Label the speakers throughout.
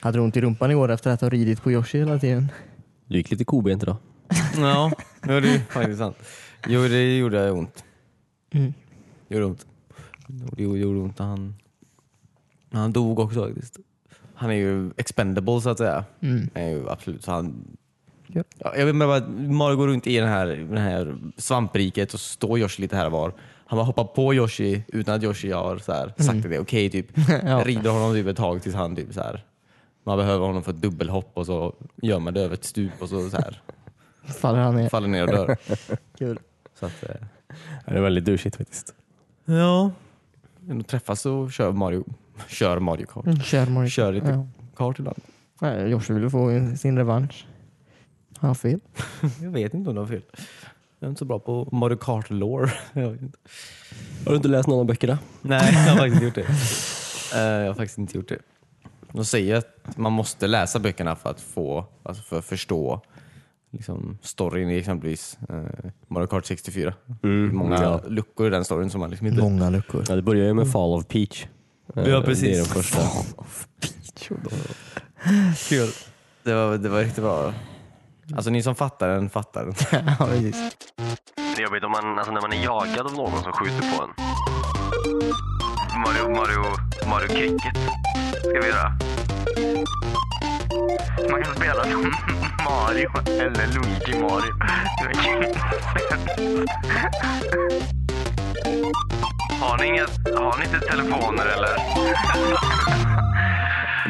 Speaker 1: Hade du ont i rumpan igår efter att ha ridit på Yoshi hela tiden?
Speaker 2: Du gick lite kobent idag.
Speaker 3: Ja, jo, det är faktiskt sant. Jo, det gjorde ont.
Speaker 1: Mm.
Speaker 3: Gjorde ont. Det gjorde gjorde ont. när Han, när han dog också faktiskt. Han är ju expendable så att säga.
Speaker 1: Mm.
Speaker 3: Han är ju absolut. Så han,
Speaker 1: Ja.
Speaker 3: ja. jag vet bara att Mario går runt i den här, den här svampriket och så står Yoshi lite här och var. Han bara hoppar på Yoshi utan att Yoshi har så här, sagt
Speaker 1: Mm.
Speaker 3: att det är okej. typ.
Speaker 1: Ja.
Speaker 3: Rider honom typ ett tag tills han typ så här. Man behöver honom för ett dubbelhopp och så gör man det över ett stup och så, så här,
Speaker 1: Faller han ner.
Speaker 3: faller ner och dör.
Speaker 1: Kul.
Speaker 3: Så att, eh,
Speaker 2: Det är väldigt douchigt faktiskt.
Speaker 3: Ja. När de träffas så kör Mario, kör Mario Kart.
Speaker 1: Mm, Kör Mario.
Speaker 3: Kör lite
Speaker 1: Ja.
Speaker 3: kart ibland.
Speaker 1: Nej, Joshua ville få sin revansch. Har jag fel?
Speaker 3: Jag vet inte om det var fel. Jag är inte så bra på Mario Kart lore. Jag vet inte.
Speaker 2: Har du inte läst någon av böckerna?
Speaker 3: Nej, jag har faktiskt inte gjort det. Eh, Jag har faktiskt inte gjort det. De säger att man måste läsa böckerna för att få, alltså för att förstå liksom, storyn i exempelvis eh, Mario Kart 64. Det är Många
Speaker 2: Ja.
Speaker 3: luckor i den storyn som man liksom inte...
Speaker 1: Många luckor.
Speaker 2: Ja, det börjar ju med Fall of Peach. Eh,
Speaker 3: Ja, precis.
Speaker 2: Det är den första.
Speaker 3: Kul. Det var, det var riktigt bra. Alltså ni som fattar den, fattar den.
Speaker 1: ja, precis.
Speaker 4: Det är jobbigt om man, alltså när man är jagad av någon som skjuter på en. Mario, Mario, Mario Cricket ska vi göra. Man kan spela som Mario eller Luigi Mario. Har ni, inget, har ni inte telefoner eller?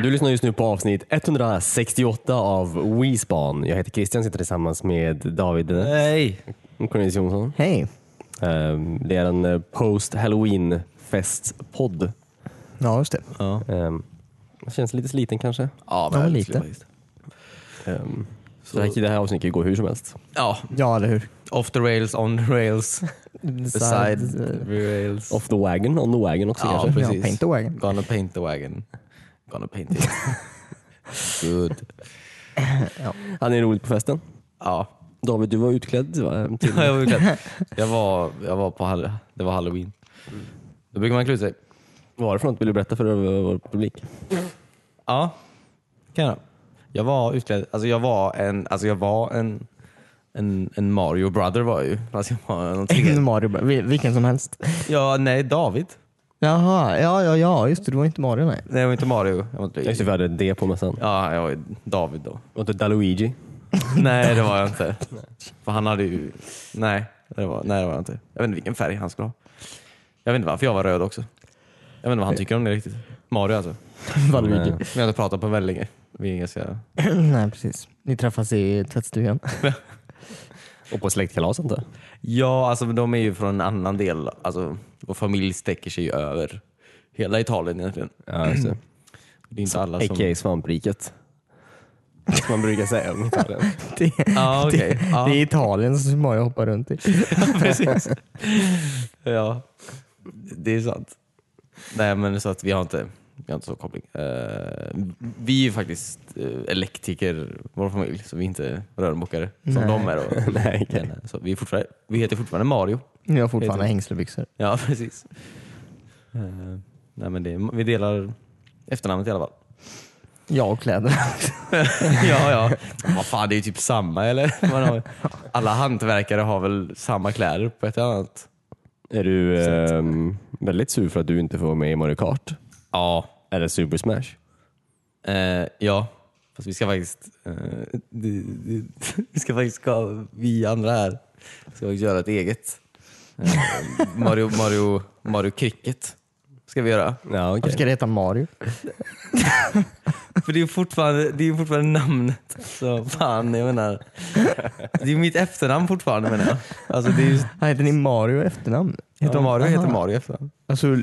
Speaker 2: Du lyssnar just nu på avsnitt 168 av WeSpan. Jag heter Christian sitter tillsammans med David
Speaker 3: Nej!
Speaker 2: och Cornelis Jonsson.
Speaker 1: Hej.
Speaker 2: Eh, Det är en eh, post halloween festpodd.
Speaker 1: Ja, just det.
Speaker 3: Ja,
Speaker 2: Ehm, det Känns lite sliten kanske.
Speaker 3: ja
Speaker 1: Ja,
Speaker 3: men
Speaker 1: lite.
Speaker 3: lite.
Speaker 2: Ehm, Så det här- det här avsnittet kan ju gå hur som helst.
Speaker 3: Ja,
Speaker 1: Ja, eller hur?
Speaker 3: off the rails, on the rails, beside the rails.
Speaker 2: Off the wagon, on the wagon också
Speaker 3: Ja,
Speaker 2: kanske.
Speaker 1: Ja,
Speaker 3: precis.
Speaker 1: paint the wagon.
Speaker 3: Gonna paint the wagon. Gonna paint it. Good.
Speaker 2: Hade ni roligt på festen?
Speaker 3: Ja,
Speaker 2: David, du var utklädd va? till
Speaker 3: jag var utklädd. Jag var, jag var på hall- det var halloween. Då brukar man klä ut sig.
Speaker 2: varifrån? Vill du berätta för vår vår publik?
Speaker 3: Ja, kan jag. Jag var utklädd, alltså jag var en, alltså jag var en, en, en Mario brother var jag ju. Alltså jag var någonting.
Speaker 1: Mario, bara, vil- vilken som helst.
Speaker 3: Ja, nej David.
Speaker 1: Jaha, ja, ja, ja, just det. Du var inte Mario, nej.
Speaker 3: Nej, jag var inte Mario. Jag var inte,
Speaker 2: Just det, vi hade det på mässan.
Speaker 3: Ja, jag var ju David då.
Speaker 2: Och inte Daluigi.
Speaker 3: Nej, det var jag inte. För han hade ju... Nej, det var, nej, det var jag inte. Jag vet inte vilken färg han skulle ha. Jag vet inte varför jag var röd också. Jag vet inte vad han tycker om det riktigt. Mario alltså.
Speaker 2: Daluigi.
Speaker 3: Vi har inte pratat på väldigt länge. Vi är ganska...
Speaker 1: nej, precis. Ni träffas i tvättstugan.
Speaker 2: Och på släktkalas inte.
Speaker 3: Ja, alltså men de är ju från en annan del. Alltså, vår familj sträcker sig ju över hela Italien egentligen.
Speaker 2: Ja, just det.
Speaker 3: Det är inte alla som...
Speaker 2: A.k.a. svampriket. Som man brukar säga om gitarren.
Speaker 1: Det,
Speaker 3: Ja, okej.
Speaker 1: det,
Speaker 3: Ja.
Speaker 1: det är Italien som Mario hoppar runt i.
Speaker 3: Precis. ja, det är sant. Nej men så att vi har inte, vi har inte så koppling. Eh, vi är ju faktiskt uh, elektriker, vår familj, så vi är inte rörmokare som
Speaker 1: Nej.
Speaker 3: de är. Då.
Speaker 2: Nej,
Speaker 3: Men,
Speaker 2: okej.
Speaker 3: eh, så vi, är fortfarande, vi heter fortfarande Mario.
Speaker 1: Jag har fortfarande
Speaker 3: Heter-
Speaker 1: hängslebyxor.
Speaker 3: Ja, precis. Eh, nej, men det, är- vi delar efternamnet i alla fall.
Speaker 1: Jag och kläder.
Speaker 3: ja, ja. Vad fan, det är ju typ samma eller? Man har, alla hantverkare har väl samma kläder på ett eller annat...
Speaker 2: Är du ehm, väldigt sur för att du inte får vara med i Mario Kart?
Speaker 3: Ja,
Speaker 2: Eller Super Smash?
Speaker 3: Eh, ja, fast vi ska faktiskt... eh, det, det, vi ska faktiskt, ska, vi andra här, ska faktiskt göra ett eget. Eh, Mario, Mario, Mario Cricket ska vi göra.
Speaker 2: Ja, okej.
Speaker 1: Varför ska det heta Mario?
Speaker 3: För det är ju fortfarande, det är ju fortfarande namnet. Så fan, jag menar. Det är ju mitt efternamn fortfarande menar jag. Alltså det är ju,
Speaker 1: Han heter ni Mario i efternamn?
Speaker 3: heter Mario heter
Speaker 1: Aha.
Speaker 3: Mario i efternamn.
Speaker 1: Alltså,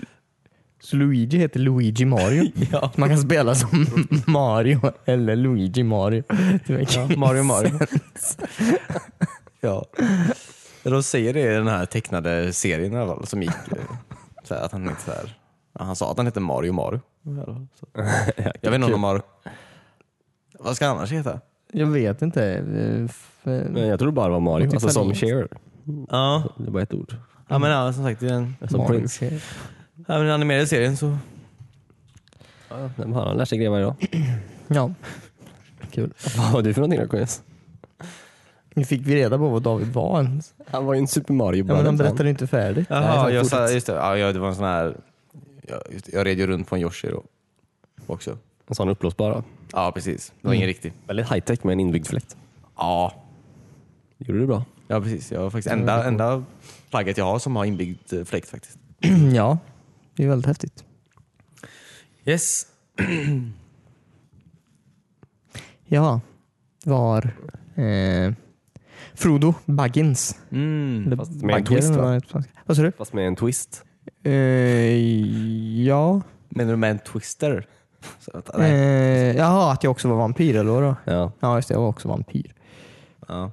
Speaker 1: så Luigi heter Luigi Mario?
Speaker 3: Ja.
Speaker 1: Man kan spela som Mario eller Luigi Mario. Det verkar
Speaker 3: Ja,
Speaker 1: ju
Speaker 3: Mario Mario. ja. De säger det i den här tecknade serien i alla fall, som gick. eh, Så här, att han, inte så här, ja, han sa att han hette Mario Mario. i alla fall, Så. Jag vet inte om de har... Vad ska han annars heta?
Speaker 1: Jag vet inte. Eh, f-
Speaker 2: Men jag tror bara det var Mario.
Speaker 1: Typ
Speaker 2: Alltså som
Speaker 1: italienskt.
Speaker 2: Cher.
Speaker 3: Ja,
Speaker 2: Det var ett ord.
Speaker 3: ja men ja, som sagt i den,
Speaker 2: Som
Speaker 1: Mario.
Speaker 2: Prince.
Speaker 3: ja, men i den animerade serien så...
Speaker 2: Ja, men han lär sig grejer varje dag.
Speaker 1: Ja. Kul.
Speaker 2: Vad var du för någonting då KS?
Speaker 1: Nu fick vi reda på vad David var. ens.
Speaker 2: Han var ju en Super Mario
Speaker 1: Ja, men han
Speaker 2: Brothers,
Speaker 1: berättade inte färdigt.
Speaker 3: Jaha,
Speaker 2: Nej,
Speaker 3: jag
Speaker 2: fortsätt.
Speaker 3: sa, just det. Ja, jag- det var en sån här... Jag, just, det, jag red ju runt på en Yoshi då. Också.
Speaker 2: En sån uppblåsbar. va?
Speaker 3: Ja, precis. Det var ingen riktig.
Speaker 2: Väldigt high tech med en inbyggd fläkt.
Speaker 3: Ja,
Speaker 2: Gjorde du bra.
Speaker 3: ja precis. Jag har faktiskt enda, enda plagget jag har som har inbyggd eh, fläkt faktiskt.
Speaker 1: ja, det är väldigt häftigt.
Speaker 3: Yes.
Speaker 1: Ja, var eh, Frodo Baggins.
Speaker 3: Mm.
Speaker 1: Eller
Speaker 2: fast med en
Speaker 1: Bagger,
Speaker 2: twist,
Speaker 1: eller
Speaker 2: va?
Speaker 1: vad det heter. Vad sa du?
Speaker 2: Fast med en twist.
Speaker 1: Eh, ja.
Speaker 3: Menar du med en twister? Så, vänta, nej.
Speaker 1: Eh, jaha, att jag också var vampyr eller vadå?
Speaker 2: Ja.
Speaker 1: Ja, just det. Jag var också vampyr.
Speaker 3: Ja.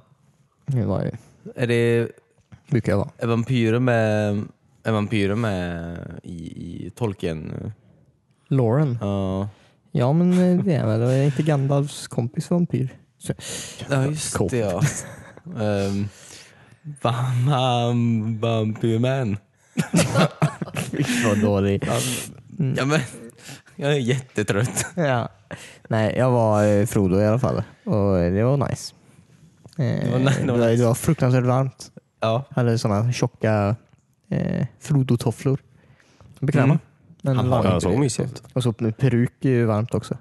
Speaker 1: Det var jag,
Speaker 3: Är det
Speaker 1: brukar jag vara.
Speaker 3: är vampyrer med... Är vampyrer med i, i tolken?
Speaker 1: Lauren.
Speaker 3: Ja,
Speaker 1: Ja, men eh, det är väl. Är inte Gandalfs kompis vampyr? Så,
Speaker 3: ja just
Speaker 2: Kompis.
Speaker 3: det ja. Um, bam, bam, vampyrman.
Speaker 1: vad dålig.
Speaker 3: Ja, men, jag är jättetrött.
Speaker 1: Ja. Nej, jag var eh, Frodo i alla fall och eh, det var nice. Eh,
Speaker 3: Det var ni- det var nice.
Speaker 1: det var fruktansvärt varmt.
Speaker 3: Ja.
Speaker 1: Jag hade sådana tjocka eh, Frodo-tofflor. Bekväma.
Speaker 3: Mm.
Speaker 1: Men
Speaker 2: Han
Speaker 1: varmt.
Speaker 2: har så mysig ut.
Speaker 1: Och så med peruk är ju varmt också.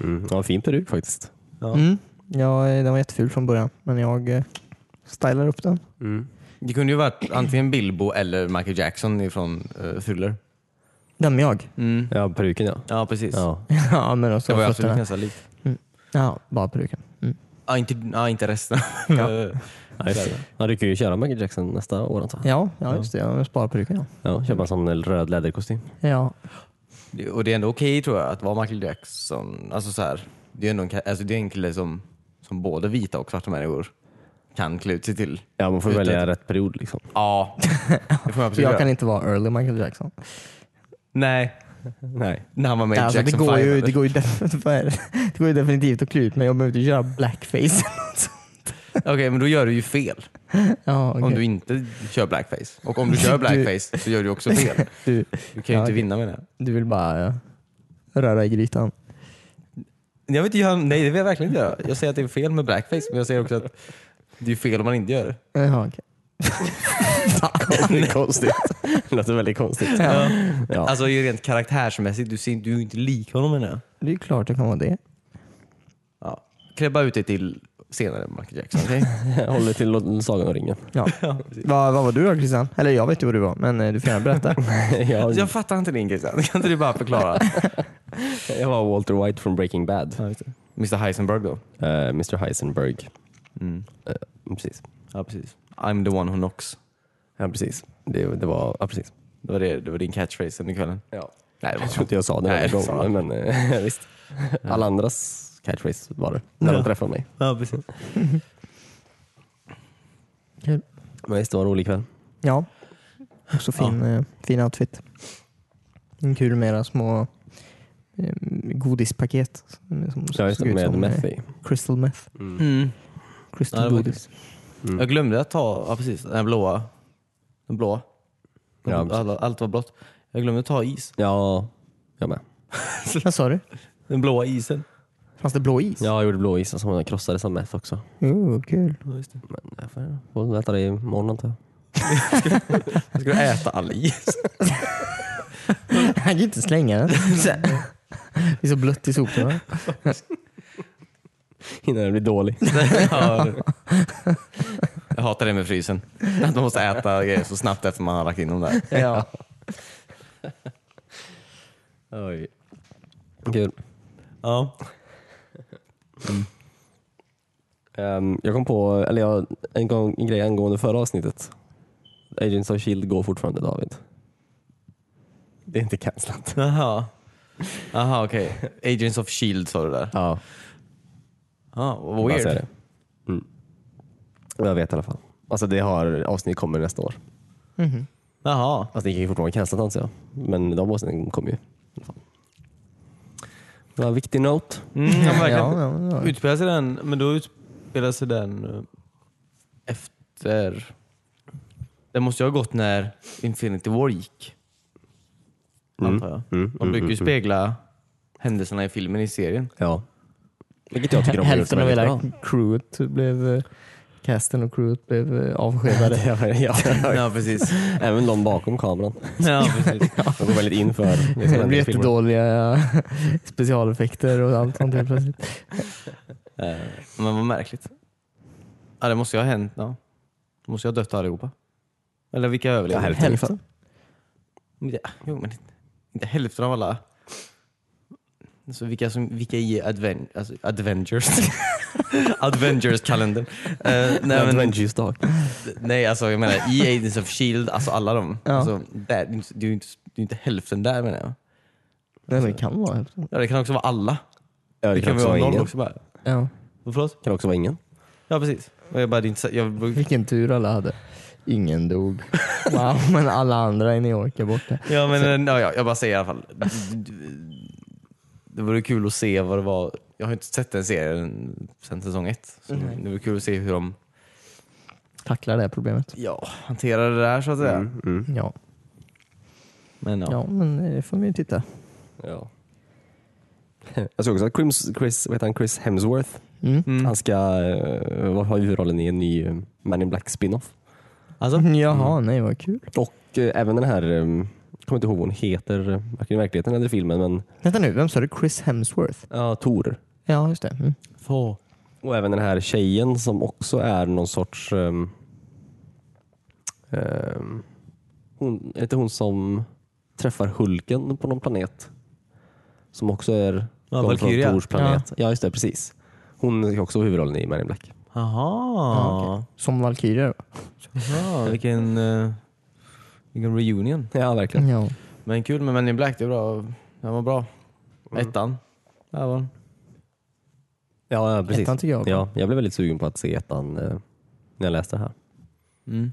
Speaker 2: Mm. Ja, fin peruk faktiskt.
Speaker 3: Ja.
Speaker 1: Mm. Ja, eh, den var jätteful från början men jag eh, stylar upp den.
Speaker 3: Mm. Det kunde ju varit antingen Bilbo eller Michael Jackson ifrån uh, Thriller.
Speaker 1: Den med jag.
Speaker 2: Ja, peruken ja.
Speaker 3: Ja, precis.
Speaker 2: Mm. ja.
Speaker 1: ja, men också
Speaker 3: Det var ju absolut
Speaker 1: fötterna.
Speaker 3: ganska likt.
Speaker 1: Ja, bara peruken. Mm.
Speaker 3: Ja, inte, ja, inte resten. Eh,
Speaker 2: Ja, just det. Han rycker ju köra Michael Jackson nästa år antar jag.
Speaker 1: Ja, ja, just det. Jag sparar peruken. Ja.
Speaker 2: Ja, köpa en sån röd läderkostym.
Speaker 1: Ja,
Speaker 3: det- och det är ändå okej tror jag att vara Michael Jackson. Alltså så här, det är ändå en, ka- alltså, det är en kille som, som både vita och svarta människor kan klä ut sig till.
Speaker 2: Ja, man får
Speaker 3: Utan-
Speaker 2: välja rätt period liksom.
Speaker 3: Ja, det får jag absolut
Speaker 1: jag
Speaker 3: göra.
Speaker 1: kan inte vara early Michael Jackson.
Speaker 3: Nej,
Speaker 2: Nej.
Speaker 3: när han var med i
Speaker 1: Alltså, det,
Speaker 3: Jackson
Speaker 1: går
Speaker 3: 5.
Speaker 1: ju,
Speaker 3: eller?
Speaker 1: det, går ju def- vad är det? det går ju definitivt att klä ut mig. Jag behöver inte göra blackface.
Speaker 3: Okej, men då gör du ju fel.
Speaker 1: ja,
Speaker 3: Om
Speaker 1: okej.
Speaker 3: du inte kör blackface. Och om du kör
Speaker 1: Du-
Speaker 3: blackface så gör du också fel.
Speaker 1: du,
Speaker 3: Du kan ju
Speaker 1: Ja,
Speaker 3: inte
Speaker 1: okej.
Speaker 3: vinna med det.
Speaker 1: du vill bara ja, röra i grytan.
Speaker 3: Jag vill inte göra, nej, det vill jag verkligen inte göra. Jag säger att det är fel med blackface, men jag säger också att det är fel om man inte gör det.
Speaker 1: Jaha, okej.
Speaker 2: Det är konstigt. Det låter väldigt konstigt. Ja.
Speaker 3: Alltså ju rent karaktärsmässigt, du, ser, du är ju inte lik honom menar jag.
Speaker 1: Det är ju klart det kan vara det.
Speaker 3: Ja. Klä bara ut dig till senare Michael Jackson, okej?
Speaker 2: Jag håller till lo- Sagan om ringen.
Speaker 1: Ja. Vad vad var du då Christian? Eller jag vet ju vad du var, men eh, du får gärna berätta.
Speaker 2: Jag,
Speaker 3: Alltså, jag fattar inte din Christian, kan inte du bara förklara?
Speaker 2: jag var Walter White från Breaking Bad.
Speaker 3: Mr Heisenberg då?
Speaker 2: Eh, Mr Heisenberg.
Speaker 3: Mm.
Speaker 2: Eh, precis.
Speaker 3: Ja precis. I'm the one who knocks.
Speaker 2: Ja, precis. Det, det var, ja, precis.
Speaker 3: Det var, det, det var din catchphrase under kvällen.
Speaker 2: Ja.
Speaker 3: Nej, det var
Speaker 2: Jag tror inte jag sa det
Speaker 3: Nej,
Speaker 2: någon gång,
Speaker 3: det sa
Speaker 2: men eh, visst. Alla andras catchphrase var det, när de träffade mig.
Speaker 3: Ja, precis.
Speaker 1: Kul.
Speaker 2: Men visst, det var en rolig kväll.
Speaker 1: Ja. Och så fin, eh, fin outfit. En kul med era små eh, godispaket. Som, som
Speaker 2: Så jag just
Speaker 1: såg
Speaker 2: det,
Speaker 1: ut
Speaker 2: med
Speaker 1: som, eh,
Speaker 2: meth i.
Speaker 1: Crystal meth.
Speaker 3: Mm.
Speaker 1: Crystal
Speaker 3: Ja, det var
Speaker 1: godis.
Speaker 3: Jag glömde att ta, ja precis, den här blåa. Den blåa.
Speaker 2: Ja, precis.
Speaker 3: Alla- allt var blått. Jag glömde att ta is.
Speaker 2: Ja, jag med.
Speaker 1: Vad sa du?
Speaker 3: Den blåa isen.
Speaker 1: Fanns det blå is?
Speaker 2: Ja, jag gjorde blåis som jag krossade som meth också.
Speaker 1: Oh, kul.
Speaker 2: Men jag får- får äta det imorgon antar jag.
Speaker 3: Ska du äta all is?
Speaker 1: Han kan inte slänga den. Det är så blött i soporna.
Speaker 2: Innan den blir dålig.
Speaker 3: Ja. Jag hatar det med frysen. Att man måste äta grejer så snabbt efter man har lagt in dem där.
Speaker 1: Ja.
Speaker 2: Oj. Kul.
Speaker 3: Ja.
Speaker 2: Ehm, jag kom på, eller jag, en, gång, en grej angående förra avsnittet. Agents of Shield E går fortfarande David. Det är inte cancelat.
Speaker 3: Jaha. Jaha okej. Agents of Shield E sa du där.
Speaker 2: Ja,
Speaker 3: Ja, vad
Speaker 2: bara säga
Speaker 3: weird.
Speaker 2: det. Mm. Men Jag vet i alla fall. Alltså det har, avsnitt kommer nästa år.
Speaker 3: Jaha.
Speaker 2: Alltså det kan ju fortfarande vara cancelat anser jag. Men de avsnitten kommer ju. i alla fall. Det var en viktig note.
Speaker 3: Mm, ja, men
Speaker 1: Ja, ja,
Speaker 3: verkligen.
Speaker 1: ja.
Speaker 3: Utspelar sig den, men då utspelar sig den eh, efter... Den måste ju ha gått när Infinity War gick. Antar jag.
Speaker 2: mm,
Speaker 3: De brukar ju spegla händelserna i filmen i serien.
Speaker 2: Ja. Vilket jag tycker de har gjort
Speaker 1: Hälften av
Speaker 2: väldigt
Speaker 1: hela
Speaker 2: bra.
Speaker 1: crewet blev, eh, casten och crewet blev eh, avskedade.
Speaker 2: Ja, ja, ja.
Speaker 3: Ja, precis.
Speaker 2: Även de bakom kameran.
Speaker 3: Ja, precis.
Speaker 2: De går väldigt in för det som
Speaker 1: Det
Speaker 2: händer
Speaker 1: blir
Speaker 2: i filmen.
Speaker 1: jättedåliga specialeffekter och allt sånt helt plötsligt.
Speaker 2: Eh,
Speaker 3: Men vad märkligt. Ja, det måste ju ha hänt. Ja. Det måste ju ha dött allihopa. Eller vilka
Speaker 2: Ja,
Speaker 3: överlevde?
Speaker 2: här-
Speaker 1: Hälften.
Speaker 2: Hälften.
Speaker 3: Ja, jo, men inte, inte hälften av alla. Alltså, vilka, som, vilka i adven, alltså, Adventures? Adventures-kalendern. Eh, nej, men,
Speaker 2: Avengers Dark.
Speaker 3: nej, alltså jag menar i Agents of Shield, alltså alla de.
Speaker 1: Ja.
Speaker 3: Alltså, där, det är ju inte- det är ju inte, det är ju inte hälften där menar jag.
Speaker 1: Nej, men det kan vara hälften.
Speaker 3: Ja, det kan också vara alla.
Speaker 2: Ja, det,
Speaker 3: Det, kan
Speaker 2: också
Speaker 3: vara
Speaker 2: vara E
Speaker 3: noll
Speaker 2: ingen.
Speaker 3: också bara.
Speaker 1: Ja.
Speaker 3: Förlåt?
Speaker 2: kan också vara ingen.
Speaker 3: Ja, precis. Och jag bara, det är inte, så- jag,
Speaker 1: Vilken tur alla hade. Ingen dog. Wow, men alla andra i New York är borta.
Speaker 3: Ja, men ja, ja, jag bara säger i alla fall. Det vore kul att se vad det var. Jag har inte sett den serien sedan säsong ett. Så
Speaker 1: Nej.
Speaker 3: det vore kul att se hur de
Speaker 1: Tackla det här problemet.
Speaker 3: ja, hanterar det där så att säga.
Speaker 2: Mm, mm.
Speaker 1: Ja,
Speaker 3: Men ja.
Speaker 1: ja. men eh, det får vi ju titta.
Speaker 2: Ja. Jag såg också att Chris, Chris, vad heter han, Chris Hemsworth,
Speaker 1: Mm.
Speaker 3: Mm.
Speaker 2: han ska uh, ha huvudrollen i en ny eh, Man in Black spin-off.
Speaker 3: Alltså,
Speaker 1: Mm, Jaha, nej vad kul.
Speaker 2: Och eh, även den här, um, jag kommer inte ihåg vad hon heter, eh, varken i verkligheten eller i filmen, men
Speaker 1: Vänta nu, vem sa du? Chris Hemsworth?
Speaker 2: ja, Tor.
Speaker 1: Ja, just det. Mm.
Speaker 3: få.
Speaker 2: Och även den här tjejen som också är någon sorts... ehm, ehm, hon, heter hon som träffar Hulken på någon planet? Som också är
Speaker 3: Ja,
Speaker 2: någon från
Speaker 3: Valkyria.
Speaker 2: Tors planet. Ja. just det, precis. Hon är också huvudrollen i Man in Black.
Speaker 1: Ja,
Speaker 3: Jaha.
Speaker 1: okej. Som Valkyrier.
Speaker 3: Ja, vilken, eh, vilken reunion.
Speaker 2: Ja, verkligen.
Speaker 1: Ja.
Speaker 3: Men kul med Men in Black. Det är bra. Den var bra. Ettan. Där var den.
Speaker 2: Ja, ja, precis.
Speaker 1: Ettan tycker jag var bra.
Speaker 2: ja, jag blev väldigt sugen på att se ettan eh, när jag läste det här.
Speaker 3: Mm.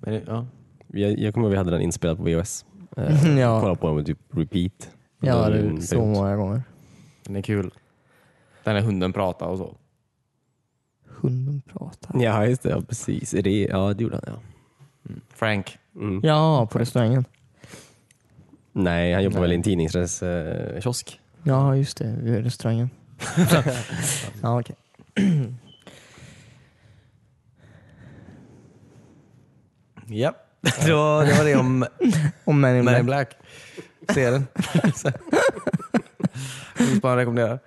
Speaker 3: Men, det- ja.
Speaker 2: Jag, jag kommer ihåg att vi hade den inspelad på VHS.
Speaker 1: Mm,
Speaker 2: Eh,
Speaker 1: ja.
Speaker 2: Kollade på den med typ repeat.
Speaker 1: Ja,
Speaker 2: Under
Speaker 1: det
Speaker 2: en
Speaker 1: är så
Speaker 2: period.
Speaker 1: många gånger.
Speaker 3: Den är kul. Den där hunden pratar och så.
Speaker 1: Hunden pratar.
Speaker 2: Ja, just det. Ja, precis. Det, ja, det gjorde han.
Speaker 3: Frank.
Speaker 2: Ja. Mm.
Speaker 1: Ja, på restaurangen.
Speaker 2: Nej, han jobbar
Speaker 3: Nej.
Speaker 2: väl i en eh, tidningskiosk.
Speaker 1: Ja, just det. Vid restaurangen. ja, okej.
Speaker 3: Ja, det var det, var det om
Speaker 1: Och Men in
Speaker 3: Men
Speaker 1: Black.
Speaker 3: in Black. Se den. Vill bara rekommendera.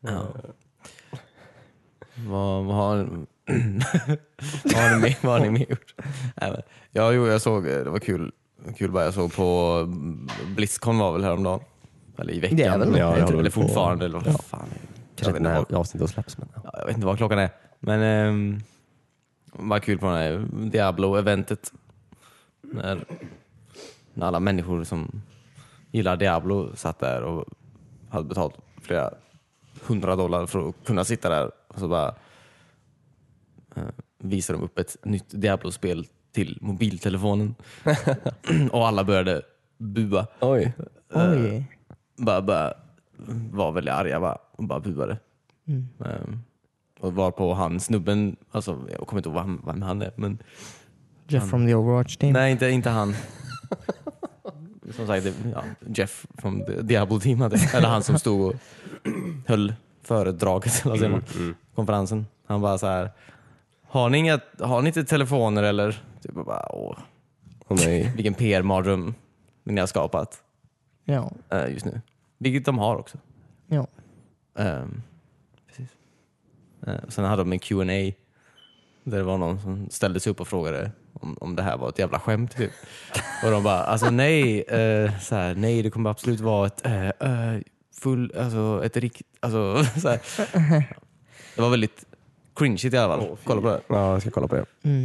Speaker 3: Ja. Vad, vad har vad har ni mer- vad har ni mer gjort? Nej, men, ja, jo, jag såg, det var kul, kul bara jag såg på Blizzcon var väl häromdagen. Eller i veckan.
Speaker 1: Det är väl det.
Speaker 2: Ja, det
Speaker 3: eller,
Speaker 2: håller
Speaker 3: eller
Speaker 2: väl på.
Speaker 3: fortfarande. Eller vad fan. Jag
Speaker 2: Kanske
Speaker 3: vet
Speaker 2: inte
Speaker 3: inte
Speaker 2: när
Speaker 3: vad-
Speaker 2: avsnittet släpps. Men, ja.
Speaker 3: Ja, jag vet inte vad klockan är. Men ehm, vad kul på det här Diablo-eventet. När, när alla människor som gillar Diablo satt där och hade betalt flera hundra dollar för att kunna sitta där. Och så bara eh, visar de upp ett nytt Diablo-spel till mobiltelefonen. och alla började bua
Speaker 2: Oj.
Speaker 3: Eh,
Speaker 1: Oj.
Speaker 3: bara, bara var väldigt arga bara, och bara buade. Ehm, och var på han snubben, alltså, jag kommer inte ihåg vem, vem han är, men
Speaker 1: Jeff from the Overwatch team.
Speaker 3: nej inte, inte han. som sagt, det- ja, Jeff från Di- Diablo Team, hade, eller han som stod och höll föredraget, eller vad säger man,
Speaker 2: Mm.
Speaker 3: konferensen. Han bara så här, har ni, inga, har ni inte telefoner eller? Typ och bara, åh,
Speaker 2: Hon är,
Speaker 3: vilken PR-mardröm ni har skapat
Speaker 1: Ja.
Speaker 3: eh, just nu. Vilket de har också.
Speaker 1: ja.
Speaker 3: Ehm, precis. Eh, sen hade de en Q&A där det var någon som ställde sig upp och frågade om, om det här var ett jävla skämt. Typ. och de bara, alltså nej, eh, så här, nej det kommer absolut vara ett eh, eh, full, alltså ett rikt, alltså så här. Det var väldigt cringeigt i alla fall. Kolla på det.
Speaker 2: ja, jag ska kolla på det.
Speaker 1: Mm.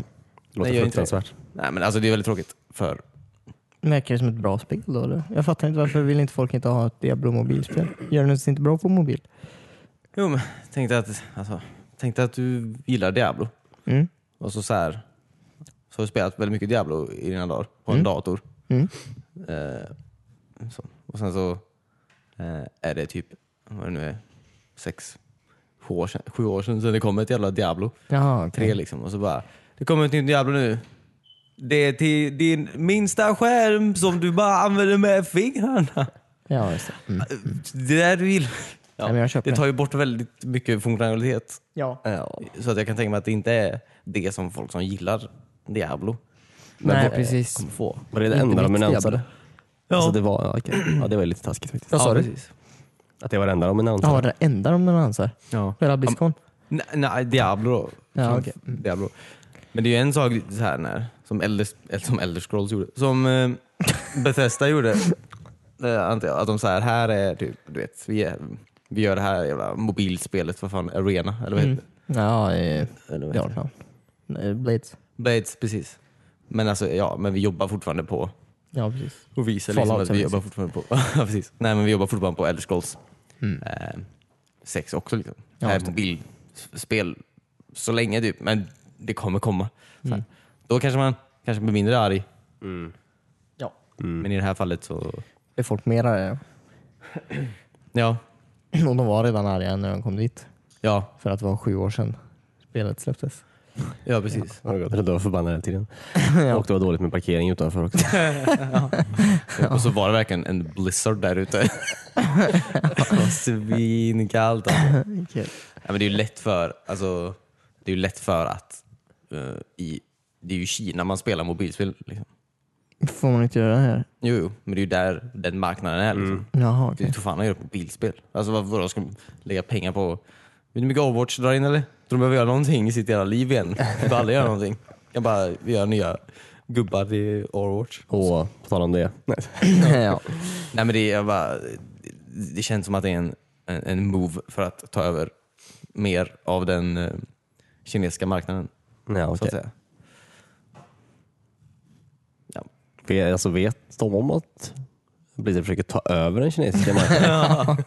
Speaker 2: Det låter
Speaker 3: Nej, gör inte det.
Speaker 2: fruktansvärt.
Speaker 3: Nej men alltså det är väldigt tråkigt för,
Speaker 1: Verkar det som ett bra spel då eller? Jag fattar inte varför vill inte folk inte ha ett Diablo mobilspel? Gör det inte bra på mobil?
Speaker 3: jo men tänkte att, alltså, tänkte att du gillar Diablo.
Speaker 1: Mm.
Speaker 3: Och så så här, så har du spelat väldigt mycket Diablo i dina dagar på en
Speaker 1: Mm.
Speaker 3: dator.
Speaker 1: Mm.
Speaker 3: Eh, så. Och sen så eh, är det typ, vad det nu är, sex, sju år sedan, sju år sedan, sedan det kom ett jävla Diablo
Speaker 1: Jaha,
Speaker 3: 3
Speaker 1: okej.
Speaker 3: liksom. Och så bara, det kommer ett nytt Diablo nu. Det är till din minsta skärm som du bara använder med fingrarna.
Speaker 1: Ja, just det. Mm.
Speaker 3: Det där du vill. Ja,
Speaker 1: men jag köper
Speaker 3: det tar ju bort väldigt mycket funktionalitet.
Speaker 1: Ja.
Speaker 3: Ja. Så att jag kan tänka mig att det inte är det som folk som gillar Diablo
Speaker 1: Nej,
Speaker 2: vad-
Speaker 1: precis.
Speaker 3: kommer få.
Speaker 2: Var det det
Speaker 1: Inte
Speaker 2: enda de
Speaker 1: mitt
Speaker 2: annonsade?
Speaker 3: Ja.
Speaker 2: Alltså det var, ja, okej. ja, det var lite taskigt faktiskt.
Speaker 1: Vad sa du?
Speaker 3: precis.
Speaker 2: Att det var det enda de annonsade.
Speaker 1: Ja, det enda de dansar.
Speaker 3: Ja.
Speaker 1: Hela Blizzcon.
Speaker 3: Nej, nej, Diablo då.
Speaker 1: Ja,
Speaker 3: Fan,
Speaker 1: okej. Mm.
Speaker 3: Diablo. Men det är ju en sak så här när, som, Elder, eller som Elder Scrolls gjorde, som eh, Bethesda gjorde. Eh, antar jag, att de så här, här är typ, du vet, vi, är, vi gör det här jävla mobilspelet, vad fan, Arena, eller vad heter
Speaker 1: Mm. Ja, eh,
Speaker 3: det? Eller vad heter
Speaker 1: ja.
Speaker 3: det?
Speaker 1: ja. Nej, Blades.
Speaker 3: Blades, precis. Men alltså, ja, men vi jobbar fortfarande på
Speaker 1: Ja, precis.
Speaker 3: Och visa
Speaker 1: Fallout
Speaker 3: liksom att
Speaker 1: har
Speaker 3: vi
Speaker 1: vi
Speaker 3: jobbar fortfarande på... Ja, precis. Nej men vi jobbar fortfarande på Elder Scrolls
Speaker 1: Mm.
Speaker 3: eh, 6 också. Liksom.
Speaker 1: Ja,
Speaker 3: Ja,
Speaker 1: just det.
Speaker 3: mobilspel så länge typ, men det kommer komma. Så här.
Speaker 1: Mm.
Speaker 3: Då kanske man kanske blir mindre arg,
Speaker 1: Ja.
Speaker 3: men i det här fallet så...
Speaker 1: Det är folk mer arga.
Speaker 3: Ja,
Speaker 1: Och de var redan arga när de kom dit.
Speaker 3: ja,
Speaker 1: För att det var sju år sedan spelet släpptes.
Speaker 3: ja precis.
Speaker 2: Har det gått? Jag var förbannad hela tiden. Och det var dåligt med parkering utanför också.
Speaker 3: Och så var det verkligen en blizzard där ute. Det var Svinkallt alltså.
Speaker 1: Okej.
Speaker 3: Ja, men det är ju lätt för, alltså, det är ju lätt för att eh, i, det är ju Kina man spelar mobilspel. Liksom.
Speaker 1: Får man inte göra det här?
Speaker 3: Jo, jo, men det är ju där den marknaden är. Liksom.
Speaker 1: Mm. Jaha,
Speaker 3: Det är
Speaker 1: okej.
Speaker 3: ju för fan att göra på bilspel. Alltså vad- vadå, ska de lägga pengar på... Vet du hur mycket Overwatch drar in eller? Tror de behöver göra någonting i sitt jävla liv igen? De behöver aldrig göra någonting. Jag bara, vi gör nya gubbar till Overwatch.
Speaker 2: Och på tal om det. Nej.
Speaker 1: ja.
Speaker 3: Nej men det, är- jag bara, det känns som att det är en, en, en move för att ta över mer av den eh, kinesiska marknaden.
Speaker 2: Ja,
Speaker 3: Så
Speaker 2: okej.
Speaker 3: att säga. Ja.
Speaker 2: Ve- Alltså vet de om att Blizzard försöker ta över den kinesiska marknaden?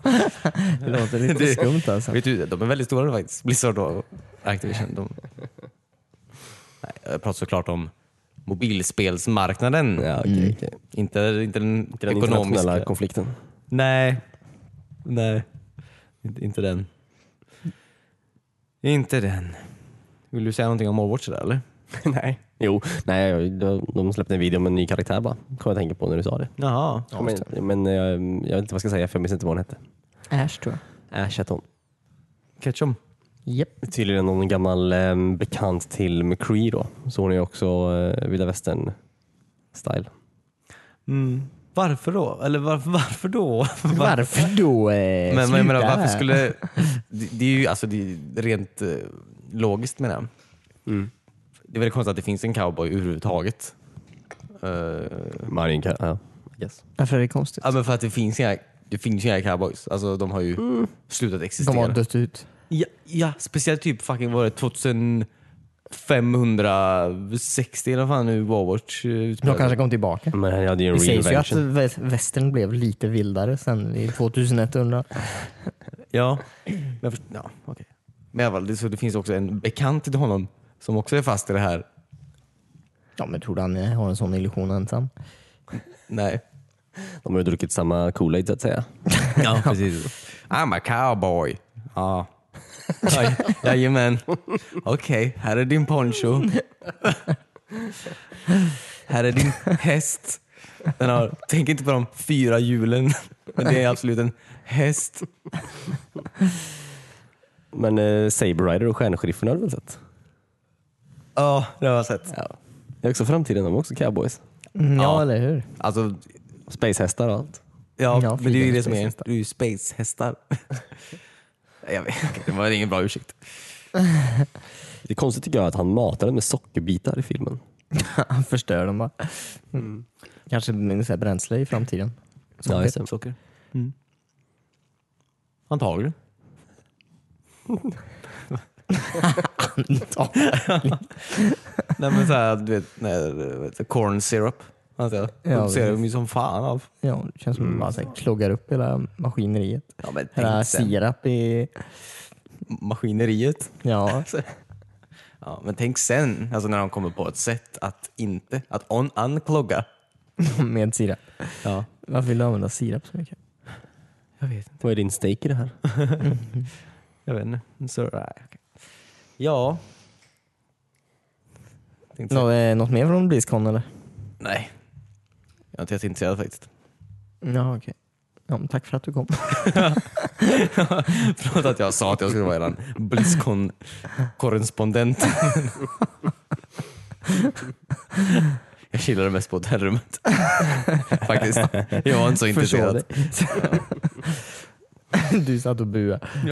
Speaker 1: Det låter lite
Speaker 3: Det-
Speaker 1: skumt alltså.
Speaker 3: Vet du, de är väldigt stora faktiskt. Blizzard och Activision. De... Nej, jag pratar såklart om mobilspelsmarknaden.
Speaker 2: Ja, okej. okej.
Speaker 3: Inte, inte den
Speaker 2: Till den
Speaker 3: ekonomiska.
Speaker 2: internationella konflikten.
Speaker 3: Nej. Nej. Inte, inte den. Inte den. Vill du säga någonting om Overwatch där eller?
Speaker 2: nej. Jo, nej, jag- de- de släppte en video med en ny karaktär bara. Kom jag att tänka på när du sa det.
Speaker 3: Jaha.
Speaker 2: men, men jag, jag vet inte vad jag ska säga för jag minns inte vad hon hette.
Speaker 1: Ash tror jag.
Speaker 2: Ash hette hon.
Speaker 3: Ketchum.
Speaker 1: Japp.
Speaker 2: Tydligen någon gammal eh, bekant till McCree då. Så hon är också eh, vilda västern style.
Speaker 3: Mm. Varför då? Eller varför, varför då?
Speaker 1: Varför då? Eh,
Speaker 3: Men, men jag menar,
Speaker 1: sluta?
Speaker 3: varför skulle... Det, det är ju alltså, det är rent eh, logiskt menar jag. Mm. Det är väldigt konstigt att det finns en cowboy överhuvudtaget. Eh,
Speaker 2: Marion Ka- ja. Yes.
Speaker 1: Varför är det konstigt?
Speaker 3: ja, men för att det finns inga, det finns inga cowboys. Alltså, de har ju slutat existera.
Speaker 1: De har dött ut.
Speaker 3: ja, ja, speciellt typ fucking var det 2560 eller vad fan nu Warwatch eh,
Speaker 1: De
Speaker 3: utspelade
Speaker 1: kanske kom tillbaka.
Speaker 2: Men han hade ju en
Speaker 1: Det sägs ju att
Speaker 2: reinvention.
Speaker 1: vä- västern blev lite vildare sen vid 2100.
Speaker 3: Ja, men, jag först- ja, okej. men i alla fall, det, så det finns också en bekant till honom som också är fast i det här
Speaker 1: Ja, men tror du han eh, har en sån illusion ensam?
Speaker 3: Nej.
Speaker 2: De har ju druckit samma Kool-Aid så att säga.
Speaker 3: Ja, precis. I'm a cowboy. Ja. Oj, Jajamän. Okej, här är din poncho. Här är din häst. Den har, tänk inte på de fyra hjulen, men det är absolut en häst.
Speaker 2: Men eh, Saber Rider och Stjärnsheriffen har du väl sett?
Speaker 3: Ja, det har jag sett.
Speaker 2: Ja. Det är också framtiden, de är också cowboys.
Speaker 1: Mm, ja,
Speaker 3: Ja.
Speaker 1: eller hur?
Speaker 3: Alltså,
Speaker 2: Spacehästar och allt.
Speaker 3: ja,
Speaker 1: Ja,
Speaker 3: men det är ju
Speaker 1: flygande
Speaker 3: det som är,
Speaker 1: spacehästar.
Speaker 3: det är ju spacehästar. Jag vet, det var ingen bra ursäkt.
Speaker 2: Det är konstigt tycker jag att han matar den med sockerbitar i filmen.
Speaker 1: Han förstör dem bara.
Speaker 3: Mm.
Speaker 1: Kanske med så här bränsle i framtiden.
Speaker 2: Ja, just det.
Speaker 3: Socker. Mm. Antagligen.
Speaker 1: Ja.
Speaker 3: Nej men såhär, du vet, när, vet du, corn syrup. Alltså,
Speaker 1: Ja,
Speaker 3: de ser de ju som fan av.
Speaker 1: ja, det känns som att man bara så här kloggar upp hela maskineriet.
Speaker 3: Ja, men
Speaker 1: Hela
Speaker 3: Mm. tänk sen,
Speaker 1: sirap i...
Speaker 3: maskineriet.
Speaker 1: Ja,
Speaker 3: Ja, men tänk sen, alltså när de kommer på ett sätt att inte, att on unklogga.
Speaker 1: med sirap.
Speaker 3: Ja.
Speaker 1: Varför vill du använda sirap så mycket?
Speaker 3: Jag vet inte.
Speaker 2: Vad är din stake i det här?
Speaker 3: Jag vet inte. Så, nej, okej. Ja. Tänkte säga.
Speaker 1: Nå, eh, något mer från BlizzCon eller?
Speaker 3: Nej. Jag är inte jätteintresserad faktiskt.
Speaker 1: Ja, okej. Ja, men tack för att du kom.
Speaker 3: Förlåt att jag sa att jag skulle vara eran Blizzcon-korrespondent. jag chillade mest på hotellrummet. Faktiskt. Jag var inte så intresserad.
Speaker 1: du satt och buade.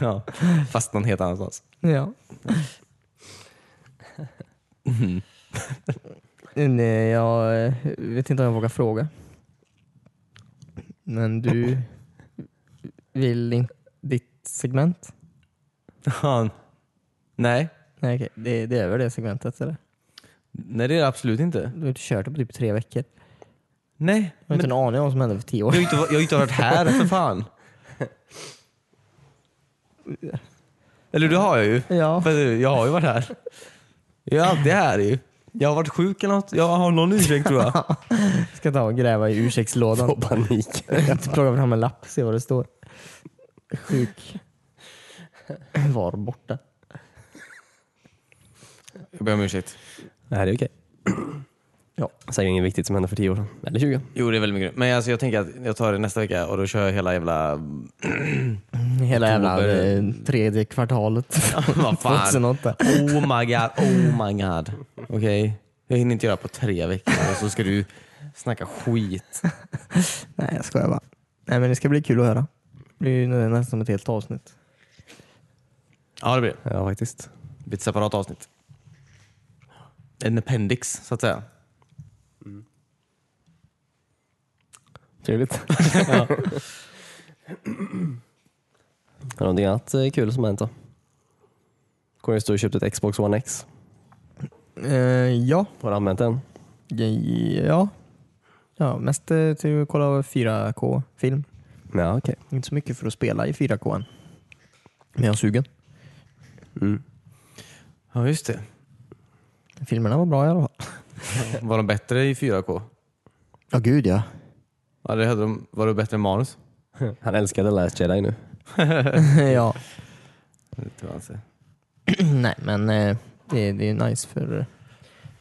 Speaker 3: ja. Fast någon helt annanstans.
Speaker 1: Ja. Mm. Nej, jag eh, vet inte om jag vågar fråga. Men du vill inte ditt segment?
Speaker 3: Ja. Nej.
Speaker 1: Nej, okej. Det, det är väl det segmentet eller?
Speaker 3: Nej det är det absolut inte.
Speaker 1: Du har inte kört det på typ tre veckor.
Speaker 3: Nej.
Speaker 1: Jag har inte
Speaker 3: Men
Speaker 1: en aning om vad som hände för tio år
Speaker 3: jag har ju inte, jag har ju inte varit här för fan. Eller det har jag ju.
Speaker 1: Ja.
Speaker 3: För jag har ju varit här. Jag är alltid här ju. Jag har varit sjuk eller något. Jag har någon ursäkt tror jag.
Speaker 1: Ska ta och gräva i ursäktslådan.
Speaker 2: Få panik.
Speaker 1: Plocka fram en lapp och se vad det står. Sjuk. Var borta.
Speaker 3: Jag ber om ursäkt.
Speaker 2: Nej, det är okej.
Speaker 1: Ja.
Speaker 2: Säg inget viktigt som hände för 10 år sedan. Eller 20.
Speaker 3: Jo det är väldigt mycket. Men alltså, jag tänker att jag tar det nästa vecka och då kör jag hela jävla...
Speaker 1: Hela jävla
Speaker 3: Oktober.
Speaker 1: eh, tredje kvartalet
Speaker 3: Vad fan.
Speaker 1: 2008.
Speaker 3: Oh my god, oh my god. Okej. Jag hinner inte göra på tre veckor och så ska du snacka skit.
Speaker 1: Nej jag skojar bara. Nej men det ska bli kul att höra. Det blir ju nä- nästan som ett helt avsnitt.
Speaker 3: Ja det blir det.
Speaker 2: Ja, faktiskt.
Speaker 3: Det blir ett separat avsnitt. En appendix så att säga.
Speaker 2: Trevligt. ja. Har du någonting annat eh, kul som har hänt då? Kommer stå och köpt ett Xbox One X.
Speaker 1: Eh, ja.
Speaker 2: Har du använt den?
Speaker 1: ja. Ja, mest eh, till att kolla 4K-film.
Speaker 2: Ja, okej.
Speaker 1: Inte så mycket för att spela i 4K än. Men jag är sugen.
Speaker 3: Ja just det.
Speaker 1: Filmerna var bra i alla fall.
Speaker 3: Var de bättre i 4K?
Speaker 1: Ja, gud ja.
Speaker 3: Ja, det hade de, var det bättre än manus?
Speaker 2: Han älskade Last Jedi nu.
Speaker 1: ja.
Speaker 3: Det tror jag inte.
Speaker 1: Nej, men eh, det, det är nice för eh,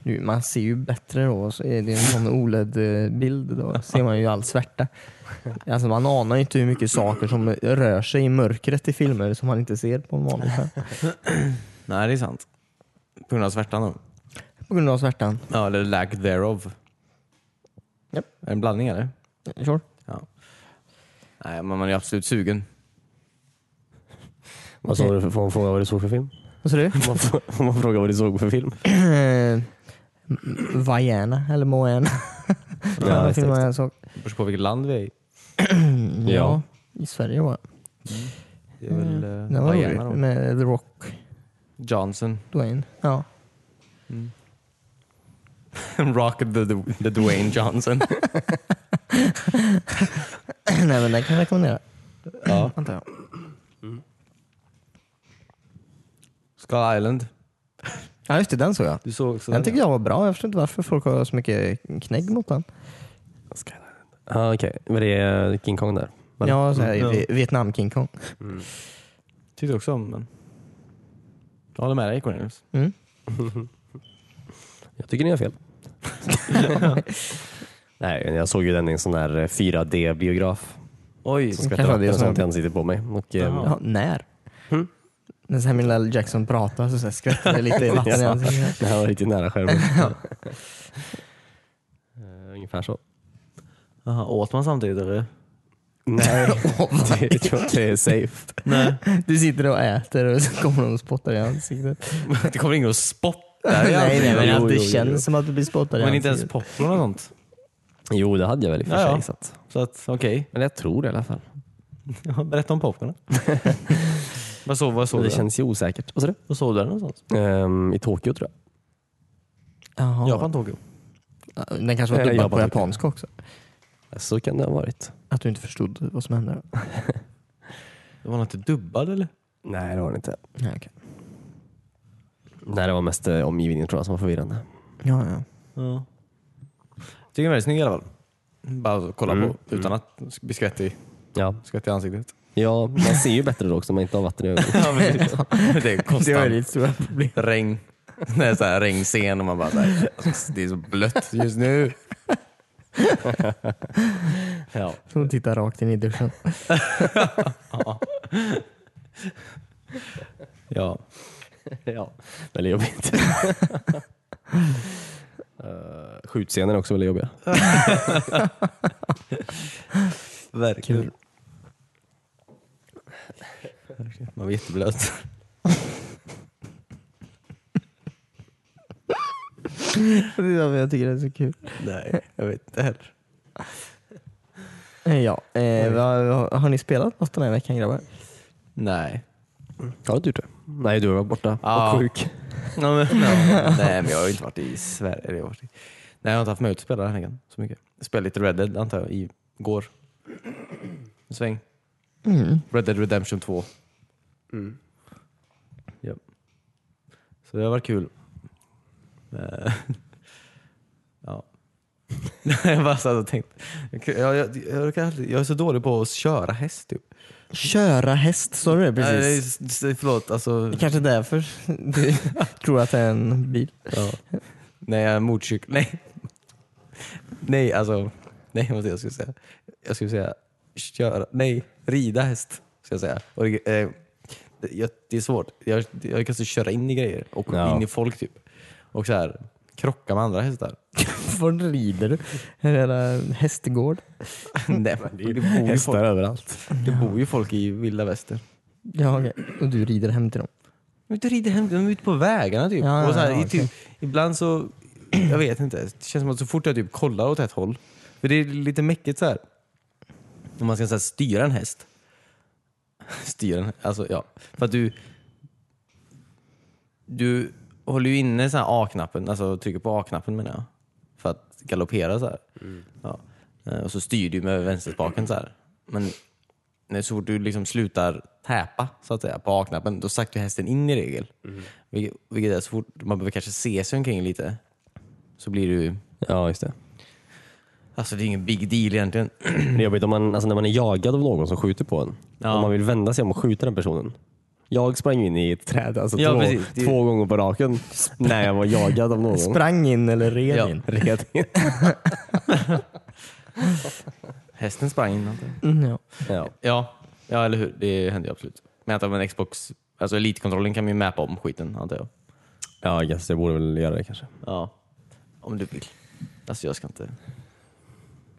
Speaker 1: nu, man ser ju bättre då. Så är det en sån OLED-bild då ser man ju all svärta. Alltså man anar ju inte hur mycket saker som rör sig i mörkret i filmer som man inte ser på en vanlig skärm.
Speaker 3: Nej, det är sant. På grund av svärtan då.
Speaker 1: På grund av svärtan.
Speaker 3: Ja, eller lack thereof.
Speaker 1: Japp.
Speaker 3: Är det en blandning eller?
Speaker 1: Sure.
Speaker 3: Nej, men man är absolut sugen.
Speaker 2: Vad sa du? för- Får man fråga vad du såg för film?
Speaker 1: Vad sa du?
Speaker 2: Får man frå- Får man fråga vad du såg för film?
Speaker 1: Eh, Vaiana eller Moana.
Speaker 2: Ja,
Speaker 1: Den
Speaker 2: just det,
Speaker 1: filmen
Speaker 2: just
Speaker 1: jag såg.
Speaker 3: Det beror på vilket land vi är i.
Speaker 1: Mm, Ja, i Sverige var det.
Speaker 3: Det är väl eh,
Speaker 1: Den var
Speaker 3: Diana
Speaker 1: rolig.
Speaker 3: då.
Speaker 1: Med The Rock,
Speaker 3: Johnson.
Speaker 1: Dwayne. Ja.
Speaker 3: Rock the, the, the Dwayne Johnson.
Speaker 1: Nej men den kan jag rekommendera.
Speaker 3: ja.
Speaker 1: Antar jag.
Speaker 3: Skull Island.
Speaker 1: Ja just det, den såg jag.
Speaker 3: Du såg också
Speaker 1: Den tycker jag var bra. Jag förstår inte varför folk har så mycket knägg mot den.
Speaker 2: Ja, okej. Men det är King Kong där? Var det?
Speaker 1: Ja, så här,
Speaker 3: Mm.
Speaker 1: Vi- Vietnam King Kong.
Speaker 2: Mm.
Speaker 3: Tyckte också om den. Jag håller med dig Cornelius.
Speaker 1: Mm.
Speaker 2: Jag tycker ni har fel. Nej, jag såg ju den i en sån där 4D-biograf.
Speaker 3: Oj.
Speaker 2: Som
Speaker 1: Kanske
Speaker 2: skvätter
Speaker 1: det är
Speaker 2: vatten och sånt
Speaker 1: som-
Speaker 2: i ansiktet på mig. Och, eh,
Speaker 3: Jaha.
Speaker 1: Ja, Mm. när? När Samuel L. Jackson pratar så, så här skvätter det lite i vatten i
Speaker 2: Ja.
Speaker 1: ansiktet.
Speaker 2: Det här var riktigt nära skärmen. Eh, Ungefär så.
Speaker 3: Aha, åt man samtidigt eller?
Speaker 2: Nej, det, jag tror inte det är safe.
Speaker 3: Nej.
Speaker 1: Du sitter och äter och så kommer någon och spottar i ansiktet.
Speaker 3: det kommer ingen att spotta i
Speaker 1: nej, nej,
Speaker 3: ansiktet.
Speaker 1: men
Speaker 2: Jo,
Speaker 1: att det
Speaker 2: jo, jo.
Speaker 1: känns som att du blir spottad i
Speaker 3: Men inte
Speaker 1: ansiktet.
Speaker 3: ens popcorn och sånt.
Speaker 2: Jo, det hade jag väl i och för
Speaker 3: Ja, ja.
Speaker 2: sig. Så att,
Speaker 3: Så att okej,
Speaker 2: men jag tror det i alla fall.
Speaker 3: berätta om popcornen. vad såg, vad såg
Speaker 2: Men
Speaker 3: du?
Speaker 2: det känns ju osäkert. Vad sa du?
Speaker 3: Vad såg du den någonstans?
Speaker 2: Ehm, I Tokyo tror jag.
Speaker 1: Jaha.
Speaker 3: Japan, Tokyo.
Speaker 1: Den kanske var
Speaker 2: Eller
Speaker 1: dubbad på
Speaker 2: Japan, tycker jag.
Speaker 1: japanska också.
Speaker 2: Så kan det ha varit.
Speaker 1: Att du inte förstod vad som hände.
Speaker 3: Det var inte dubbad eller?
Speaker 2: Nej, det var det inte.
Speaker 1: Ja, okay.
Speaker 2: Nej, det var mest eh, omgivningen tror jag som var förvirrande.
Speaker 1: ja, ja.
Speaker 3: Ja. Tycker den är väldigt snygg i alla fall. Bara att kolla
Speaker 2: Mm.
Speaker 3: på utan att bli skvätt i,
Speaker 2: Ja,
Speaker 3: skvätt i ansiktet.
Speaker 2: Ja, man ser ju bättre då också om man inte har vatten i ögonen.
Speaker 3: Ja, precis. det är
Speaker 1: Det var
Speaker 3: konstant
Speaker 1: ditt stora problem.
Speaker 3: regn. Det är så här regnscen och man bara så här, alltså, det är så blött just nu.
Speaker 2: Ja.
Speaker 1: Hon tittar rakt in i duschen.
Speaker 2: Ja. ja. Väldigt jobbigt. Eh, Skjutscener är också väldigt jobbiga.
Speaker 3: Verkligen. Man var jätteblöt.
Speaker 1: Det är därför jag tycker det är så kul.
Speaker 3: Nej, jag vet inte heller.
Speaker 1: Eh, Ja, eh, vad- vad- har ni spelat något den här veckan grabbar?
Speaker 3: Nej.
Speaker 2: Har du inte gjort det? Nej, du har varit borta
Speaker 3: Ja.
Speaker 2: och sjuk.
Speaker 3: Nej, men jag har ju inte varit i Sverige. Eller jag har varit i... Nej, jag har inte haft möjlighet att spela den här veckan så mycket. Jag spelade lite Red Dead antar jag, igår. En sväng.
Speaker 1: Mm.
Speaker 3: Red Dead Redemption 2.
Speaker 2: Mm.
Speaker 3: Ja. Så det har varit kul. Eh, ja. jag bara satt och tänkte. Jag, jag, jag, jag, kan aldrig- jag är så dålig på att köra häst typ.
Speaker 1: Köra häst, sa du det
Speaker 3: Nej,
Speaker 1: precis?
Speaker 3: det är- förlåt, alltså.
Speaker 1: Det är kanske därför du tror att det är en bil.
Speaker 3: Ja. Nej, jag är motorcykel. Nej. Nej, alltså. Nej, vad var det jag skulle säga? Jag skulle säga köra. Nej, rida häst. Ska jag säga. Och, eh, jag, det är svårt. Jag, jag lyckas ju köra in i grejer och
Speaker 2: Ja.
Speaker 3: in i folk typ. Och så här krocka med andra hästar.
Speaker 1: Var rider du? En jävla hästgård?
Speaker 3: Nej, men det, det, bor ju folk,
Speaker 2: överallt.
Speaker 3: det bor ju folk i vilda väster.
Speaker 1: Ja, okej. Och du rider hem till dem?
Speaker 3: De är ute och rider hem, de är ute på vägarna typ.
Speaker 1: Ja,
Speaker 3: och så här,
Speaker 1: ja, ja,
Speaker 3: i typ ibland så, jag vet inte, det känns som att så fort jag typ kollar åt ett håll, för det är lite mäckigt så här. Om man ska så här, styra en häst. Styra en, alltså ja. För att du, du håller ju inne så här A-knappen, alltså trycker på A-knappen menar jag. För att galoppera så här. Ja. Eh, Och så styr du med vänsterspaken så här. Men när så fort du liksom slutar täpa så att säga, på A-knappen, då saktar ju hästen in i regel. Vilket, vilket är så fort man behöver kanske se sig omkring lite så blir du...
Speaker 2: Ja, just det.
Speaker 3: Alltså det är ingen big deal egentligen.
Speaker 2: Det är jobbigt om man, alltså när man är jagad av någon som skjuter på en.
Speaker 3: Ja.
Speaker 2: Om man vill vända sig om och skjuta den personen. Jag sprang in i ett träd alltså
Speaker 3: Ja,
Speaker 2: två,
Speaker 3: precis. Det-
Speaker 2: två gånger på raken när jag var jagad av någon.
Speaker 1: Sprang in eller red
Speaker 3: Ja.
Speaker 1: in?
Speaker 2: Red in.
Speaker 3: Hästen sprang in. antar jag.
Speaker 1: Mm, ja.
Speaker 2: ja.
Speaker 3: Ja, ja eller hur. Det hände ju absolut. Men att av en Xbox... Alltså elitkontrollen kan man ju mäpa om skiten antar jag.
Speaker 2: ja, I guess jag borde väl göra det kanske.
Speaker 3: Ja. Om du vill. Alltså jag ska inte...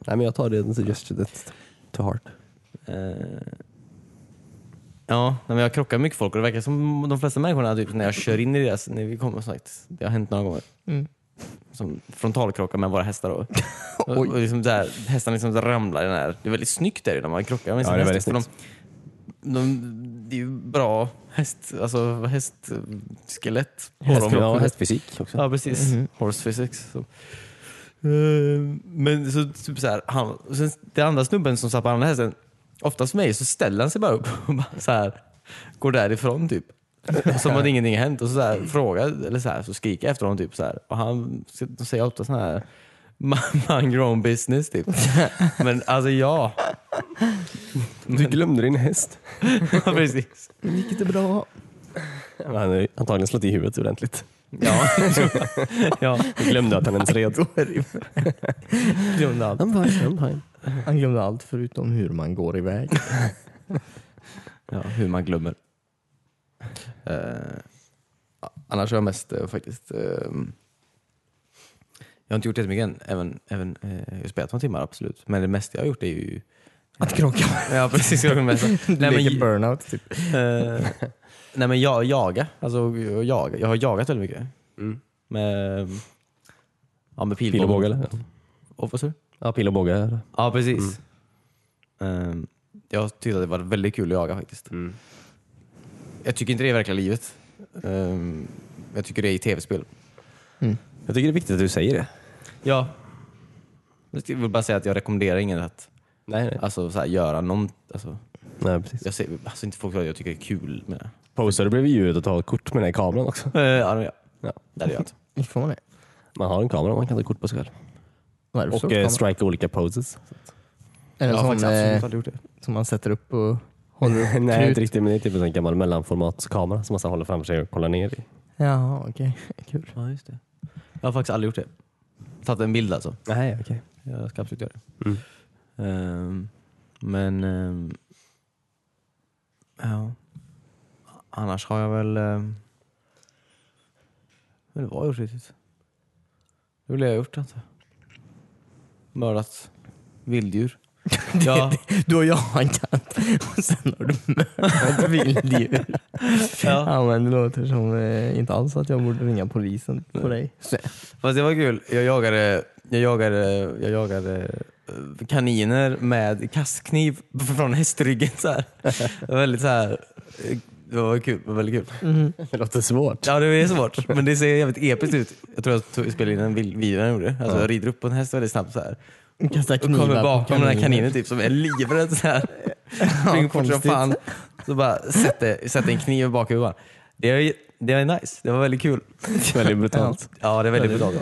Speaker 2: Nej, men jag tar det suggestionet to heart.
Speaker 3: Eh, Ja, nej, men jag krockar med mycket folk och det verkar som de flesta människorna, typ, när jag kör in i deras, när vi kommer som sagt, det har hänt några gånger.
Speaker 1: Mm.
Speaker 3: Som frontalkrockar med våra hästar då. och, och liksom så här, hästarna liksom ramlar i den här. Det är väldigt snyggt där ju när man krockar med
Speaker 2: Ja,
Speaker 3: sina
Speaker 2: det är
Speaker 3: hästar.
Speaker 2: väldigt
Speaker 3: för de, de, det är ju bra häst, alltså hästskelett på dem.
Speaker 2: Hästkropp och hästfysik också.
Speaker 3: Ja, precis. Horse physics. Så. Eh, Men så typ så här, han, sen, den andra snubben som satt på andra hästen, oftast mig, så ställer han sig bara upp och bara så här, går därifrån typ. Som att ingenting hänt och så, så här, frågar, eller så, här, så skriker jag efter honom typ så här. Och han de säger ofta sån här "Man- mind your own business typ. Men alltså ja,
Speaker 2: Du glömde din häst.
Speaker 3: precis.
Speaker 1: Gick det bra?
Speaker 2: Han har ju antagligen slått i huvudet ordentligt.
Speaker 3: Ja, ja.
Speaker 2: Du glömde att han ens red.
Speaker 1: Glömde allt.
Speaker 2: I'm fine, I'm fine.
Speaker 1: Han glömde allt förutom hur man går iväg.
Speaker 3: Ja, hur man glömmer. Eh, annars har jag mest eh, faktiskt... eh, jag har inte gjort jättemycket än. Även, även, eh, jag har spelat några timmar, absolut. Men det mesta jag har gjort är ju...
Speaker 1: Att krocka.
Speaker 3: Ja, precis. Jag kommer med.
Speaker 1: Du
Speaker 3: Nej,
Speaker 1: leker
Speaker 3: men,
Speaker 1: burnout typ.
Speaker 3: eh, nej, men jag, jaga. Alltså, jag, jaga. jag har jagat väldigt mycket. Med, ja, med
Speaker 2: Pil och båge eller?
Speaker 3: Och vad sa du?
Speaker 2: Ja, pil och båge. eller?
Speaker 3: Ja, precis. Eh, jag tyckte att det var väldigt kul att jaga faktiskt. Jag tycker inte det är i verkliga livet. Ehm, jag tycker det är i tv-spel.
Speaker 2: Jag tycker det är viktigt att du säger det.
Speaker 3: Ja. Jag vill bara säga att jag rekommenderar ingen att
Speaker 2: Nej, nej.
Speaker 3: alltså, så här, göra någon... Alltså,
Speaker 2: nej precis.
Speaker 3: jag säger, alltså inte folk vad jag tycker det är kul med det.
Speaker 2: Posar du bredvid djuret och tar ett kort med den här kameran också?
Speaker 3: Eh, ja, men ja.
Speaker 2: Ja.
Speaker 3: Det hade jag inte.
Speaker 1: Får man det?
Speaker 2: Man har en kamera man kan ta kort på sig själv.
Speaker 1: Vad är det för
Speaker 2: Och
Speaker 1: sorts
Speaker 2: eh,
Speaker 1: kamera?
Speaker 2: strika olika poses.
Speaker 1: Är det
Speaker 3: Jag har
Speaker 1: en
Speaker 3: faktiskt
Speaker 1: sån
Speaker 3: absolut
Speaker 1: eh,
Speaker 3: aldrig gjort det.
Speaker 1: som man sätter upp och Håller du upp
Speaker 2: Nej,
Speaker 1: krut?
Speaker 2: inte riktigt. Men det är typ en sån gammal mellanformatskamera som man så håller framför sig och kollar ner i.
Speaker 1: Jaha, okej. Kul.
Speaker 3: Ja, just det. Jag har faktiskt aldrig gjort det. Tagit en bild alltså.
Speaker 2: Nej, okej.
Speaker 3: Jag ska absolut göra det.
Speaker 2: Mm.
Speaker 3: Ehm, men... ehm, ja. Annars har jag väl... Um, men det var gjort riktigt. Det vill jag ha gjort antar jag. Mördat vilddjur. ja,
Speaker 1: Du och jag har en katt och sen har du mördat vilddjur.
Speaker 3: ja.
Speaker 1: Ja men det låter som eh, inte alls att jag borde ringa polisen
Speaker 3: Mm.
Speaker 1: på dig. Så,
Speaker 3: Fast det var kul. Jag jagade, jag jagade, jag jagade eh, kaniner med kastkniv från hästryggen. Så här. Det var väldigt så här. eh, Det var kul. Det var väldigt kul.
Speaker 2: Det låter svårt.
Speaker 3: Ja, det är svårt. Men det ser jävligt episkt ut. Jag tror jag tog, spelade in en vil- video jag gjorde. Alltså, jag rider upp på en häst väldigt snabbt så här.
Speaker 1: kasta
Speaker 3: Och kommer
Speaker 1: på
Speaker 3: bakom den här
Speaker 1: kaniner.
Speaker 3: kaninen typ, som är livrädd så här. Springer fort som
Speaker 1: konstigt.
Speaker 3: fan. Så bara sätter, sätter en kniv i bakhuvudet. Det är, det är nice. Det var väldigt kul.
Speaker 2: Väldigt brutalt.
Speaker 3: Ja, det är väldigt brutalt.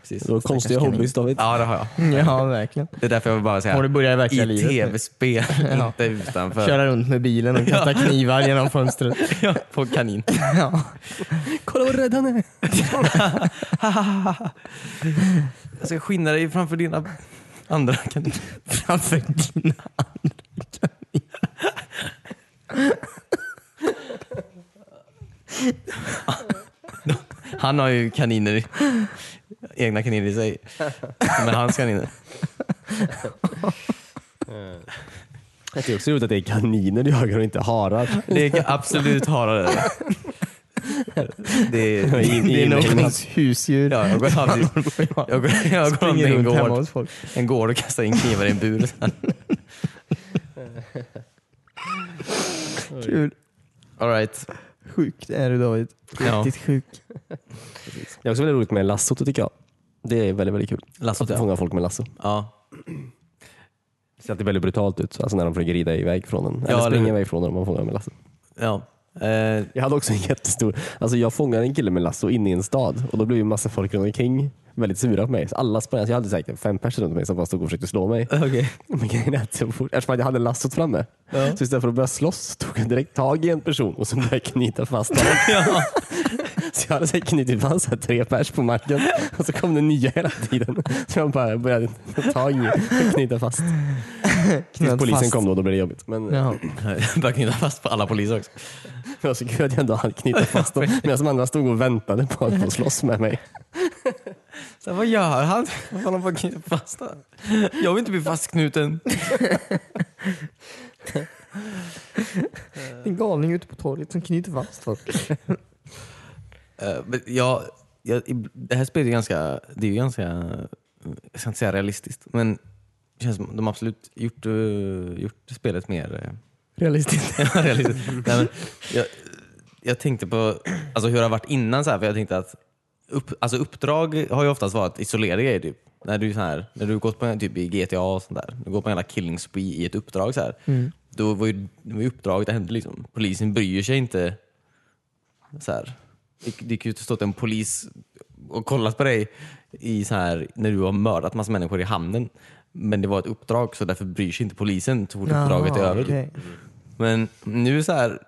Speaker 3: Precis.
Speaker 2: Det var konstiga
Speaker 1: Stackars
Speaker 2: hobbys David.
Speaker 3: Ja, det har jag.
Speaker 1: Ja verkligen.
Speaker 3: Det är därför jag vill bara säga
Speaker 1: Har du börjat i verkliga
Speaker 3: i
Speaker 1: livet nu?
Speaker 3: tv-spel,
Speaker 1: Ja.
Speaker 3: inte utanför.
Speaker 1: Köra runt med bilen och kasta knivar genom fönstret.
Speaker 3: Ja, på kanin.
Speaker 1: Ja.
Speaker 2: Kolla vad rädd han är!
Speaker 3: Jag ska skinna dig framför dina andra kaniner.
Speaker 1: Framför dina andra
Speaker 3: Han har ju kaniner, i- egna kaniner i sig. Men hans kaniner.
Speaker 2: Jag tycker också roligt att det är kaniner du jagar och inte harar.
Speaker 3: Det är absolut harar. Det är,
Speaker 2: Det är
Speaker 1: Det är
Speaker 2: nog-
Speaker 1: någons husdjur.
Speaker 3: Ja, jag går fram till jag går, jag går fram till en
Speaker 1: hemma
Speaker 3: gård,
Speaker 1: hos folk.
Speaker 3: en gård och kastar in knivar i en bur.
Speaker 1: Kul.
Speaker 3: All right.
Speaker 1: Sjukt är du David.
Speaker 3: Ja.
Speaker 1: Riktigt sjuk.
Speaker 2: Det är också väldigt roligt med lassot tycker jag. Det är väldigt, väldigt kul.
Speaker 3: Lassot,
Speaker 2: Att
Speaker 3: ja.
Speaker 2: fånga folk med lasso.
Speaker 3: Ja.
Speaker 2: Det ser alltid väldigt brutalt ut, alltså när de försöker rida iväg från en.
Speaker 3: Ja,
Speaker 2: eller springa
Speaker 3: det-
Speaker 2: iväg från en om man fångar med lasso.
Speaker 3: ja. Eh,
Speaker 2: Jag hade också en jättestor, alltså jag fångade en kille med lasso inne i en stad och då blev ju massa folk runt omkring väldigt sura på mig. Så alla sprang, alltså jag hade säkert fem personer runt mig som bara stod och försökte slå mig.
Speaker 3: Okej.
Speaker 2: Men grejen är att så fort- eftersom jag hade lassot framme, så istället för att börja slåss så tog jag direkt tag i en person och så började jag knyta fast honom.
Speaker 3: Ja.
Speaker 2: Så jag hade säkert knutit fast så här tre pers på marken och så kom det nya hela tiden. Så jag bara började ta tag i och knyta fast. Tills polisen kom då, då blev det jobbigt. Men
Speaker 1: Jaha.
Speaker 3: Jag börjar knyta fast på alla poliser också.
Speaker 2: det var så kul att jag ändå hade knutit fast dem medan de andra stod och väntade på att få slåss med mig.
Speaker 3: Så här, vad gör han? Vad håller han på att knyta fast där? Jag vill inte bli fastknuten.
Speaker 1: En galning ute på torget som knyter fast folk.
Speaker 3: Eh, men jag, jag, det här spelet är ganska, det är ju ganska, eh, jag ska inte säga realistiskt, men det känns som de har absolut gjort, eh, gjort spelet mer eh,
Speaker 1: Realistiskt.
Speaker 3: Ja, realistiskt. Nej, men jag, jag tänkte på alltså, hur det har varit innan, så här, för jag tänkte att upp, alltså, uppdrag har ju oftast varit isolerade grejer. Typ. När du, så här, när du gått på en, typ, i GTA och sånt där, du går på en jävla killing spree i ett uppdrag, så här, då var ju, det var ju uppdraget det hände. Liksom. Polisen bryr sig inte. Så här. Det, det kan ju inte stått en polis och kollat på dig i så här, när du har mördat massa människor i hamnen. Men det var ett uppdrag så därför bryr sig inte polisen så fort uppdraget är över. typ.
Speaker 1: okej.
Speaker 3: Men nu så här.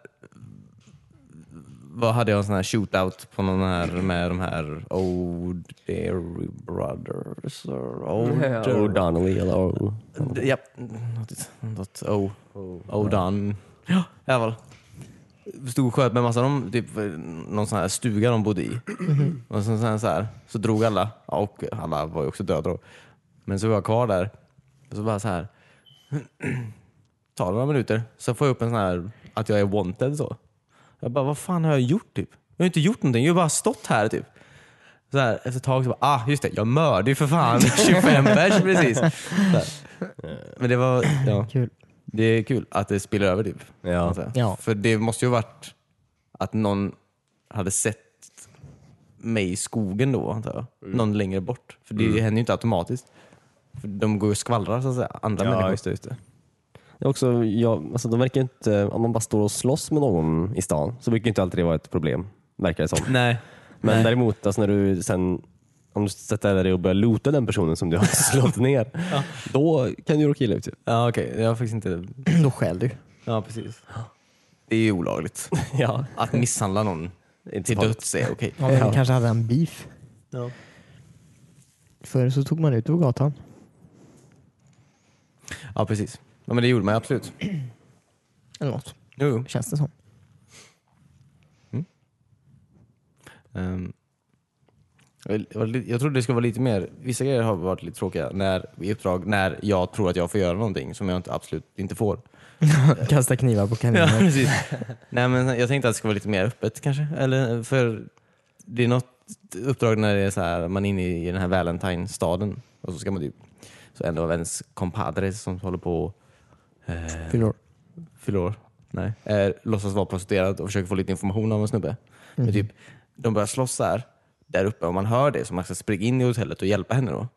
Speaker 3: Vad hade jag en sån här shootout på någon här med de här Oh Dairy Brothers? Or oh,
Speaker 2: O'Donnelly eller O.
Speaker 3: ja, något, något oh, oh done. Ja, i alla fall. Stod och sköt med massa av dem, typ eh, någon sån här stuga de bodde i. Och sen, sen så, här, så drog alla, Ja, och alla var ju också döda då. Men så var jag kvar där. Och så bara så här. Tar några minuter, så får jag upp en sån här att jag är wanted så. Jag bara, vad fan har jag gjort typ? Jag har ju inte gjort någonting, jag har bara stått här typ. Så här, efter ett tag så bara, ah just det, jag mördade ju för fan 25 pers precis. Så här. Men det var, ja.
Speaker 1: Kul.
Speaker 3: Det är kul att det spiller över typ.
Speaker 2: Ja.
Speaker 3: Alltså.
Speaker 1: Ja.
Speaker 3: För det måste ju ha varit att någon hade sett mig i skogen då antar jag. Någon längre bort. För det händer ju inte automatiskt. För de går ju och skvallrar så att säga. Andra människor.
Speaker 2: Det är också, jag, alltså de verkar inte, om man bara står och slåss med någon i stan så brukar inte alltid det vara ett problem, verkar det som.
Speaker 3: Nej.
Speaker 2: Men
Speaker 3: Nej.
Speaker 2: däremot, alltså när du sen om du sätter dig och börjar loota den personen som du har slått ner, då kan du råka illa ut. typ. ju.
Speaker 3: Ja okej, jag har faktiskt inte...
Speaker 1: Då skäl du.
Speaker 3: Ja, precis. Det är ju olagligt.
Speaker 2: ja.
Speaker 3: Att misshandla någon till
Speaker 2: farligt.
Speaker 3: döds är okej.
Speaker 1: Ja, men
Speaker 2: Ja.
Speaker 1: vi kanske hade en beef. Förr så tog man ut på gatan.
Speaker 3: Ja, precis. Ja, men det gjorde man ju absolut.
Speaker 1: Eller något,
Speaker 3: Jo, jo.
Speaker 1: känns det som.
Speaker 3: Ehm, det var li- jag trodde det skulle vara lite mer, vissa grejer har varit lite tråkiga när, i uppdrag när jag tror att jag får göra någonting som jag inte, absolut inte får.
Speaker 1: Kasta knivar på
Speaker 3: Ja,
Speaker 1: kaniner.
Speaker 3: precis. Nej, men jag tänkte att det skulle vara lite mer öppet kanske. Eller, för det är något uppdrag när det är så här, man är inne i den här Valentine-staden och så ska man typ, så en av ens compadres som håller på eh,
Speaker 1: Fyller år.
Speaker 3: fyller år. Nej. Eh, låtsas vara prostituerad och försöker få lite information av en snubbe. Men typ, de börjar slåss där, där uppe och man hör det så man ska springa in i hotellet och hjälpa henne då.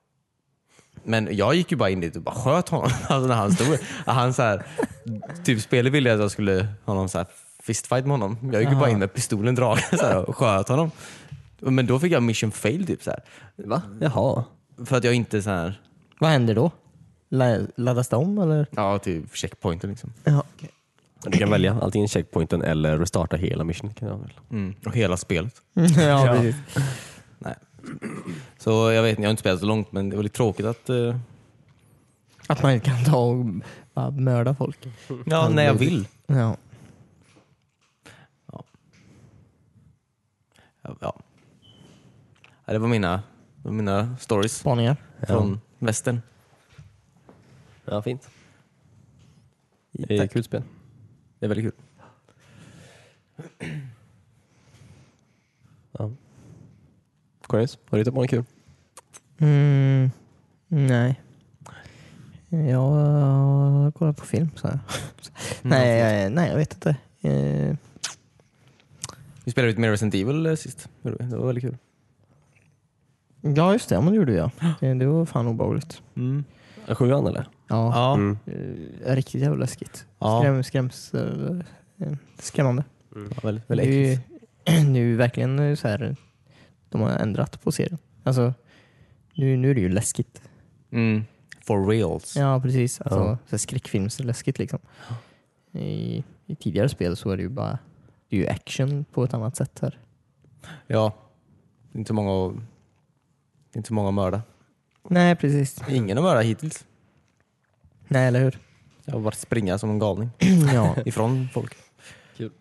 Speaker 3: Men jag gick ju bara in dit och bara sköt honom alltså när han stod han så här, Typ spelet ville att jag skulle ha någon så här fistfight med honom. Jag gick ju bara in med pistolen dragen så här, och sköt honom. Men då fick jag mission fail typ så här.
Speaker 2: Va? Jaha.
Speaker 3: För att jag inte så här,
Speaker 1: Vad händer då? La- Laddas det om eller?
Speaker 3: ja typ checkpointen liksom.
Speaker 1: Ja,
Speaker 2: Men Du kan välja antingen checkpointen eller restarta hela missionen. Kan jag väl.
Speaker 3: Mm. Och hela spelet.
Speaker 1: ja, precis.
Speaker 3: Nej. Så jag vet inte, jag har inte spelat så långt men det var lite tråkigt att... eh,
Speaker 1: Att man kan ta och bara mörda folk.
Speaker 3: ja, när jag vill.
Speaker 1: Ja.
Speaker 3: Ja. ja. Ja, Det var mina, det var mina stories
Speaker 1: Spaningar.
Speaker 3: från västern.
Speaker 2: Ja, fint. Det är
Speaker 3: Tack.
Speaker 2: kul spel.
Speaker 3: Det är väldigt kul.
Speaker 2: Cornelius, har du hittat på något kul?
Speaker 1: Mm, nej. Jag har kollat på film så här. nej,
Speaker 3: Mm.
Speaker 1: jag, nej, jag vet inte. Eh,
Speaker 3: Vi spelade lite mer Resident Evil eh, sist. Det var- det var väldigt kul.
Speaker 1: Ja, just det. Ja, men det gjorde jag. Eh, Det var fan obehagligt.
Speaker 2: Sjuan eller?
Speaker 1: Ja.
Speaker 3: Mm. Ja.
Speaker 2: Mm.
Speaker 1: Eh, Riktigt jävla läskigt.
Speaker 3: Ja.
Speaker 1: Skräm, skräms, eh, eh, skrämmande.
Speaker 3: Ja, väldigt,
Speaker 1: Det
Speaker 3: väldigt
Speaker 1: är ju,
Speaker 3: äckligt.
Speaker 1: det är ju verkligen eh, så här, de har ändrat på serien. Alltså, nu, nu är det ju läskigt.
Speaker 3: Mm. For reals.
Speaker 1: Ja, precis. Alltså,
Speaker 2: Ja.
Speaker 1: så här skräckfilmsläskigt liksom. I, I tidigare spel så är det ju bara det är ju action på ett annat sätt här.
Speaker 3: Ja. Det är inte så många att, det är inte så många att mörda.
Speaker 1: Nej, precis.
Speaker 3: Ingen att mörda hittills.
Speaker 1: Nej, eller hur?
Speaker 3: Jag har bara springa som en galning
Speaker 1: ja.
Speaker 3: ifrån folk.
Speaker 2: Kul.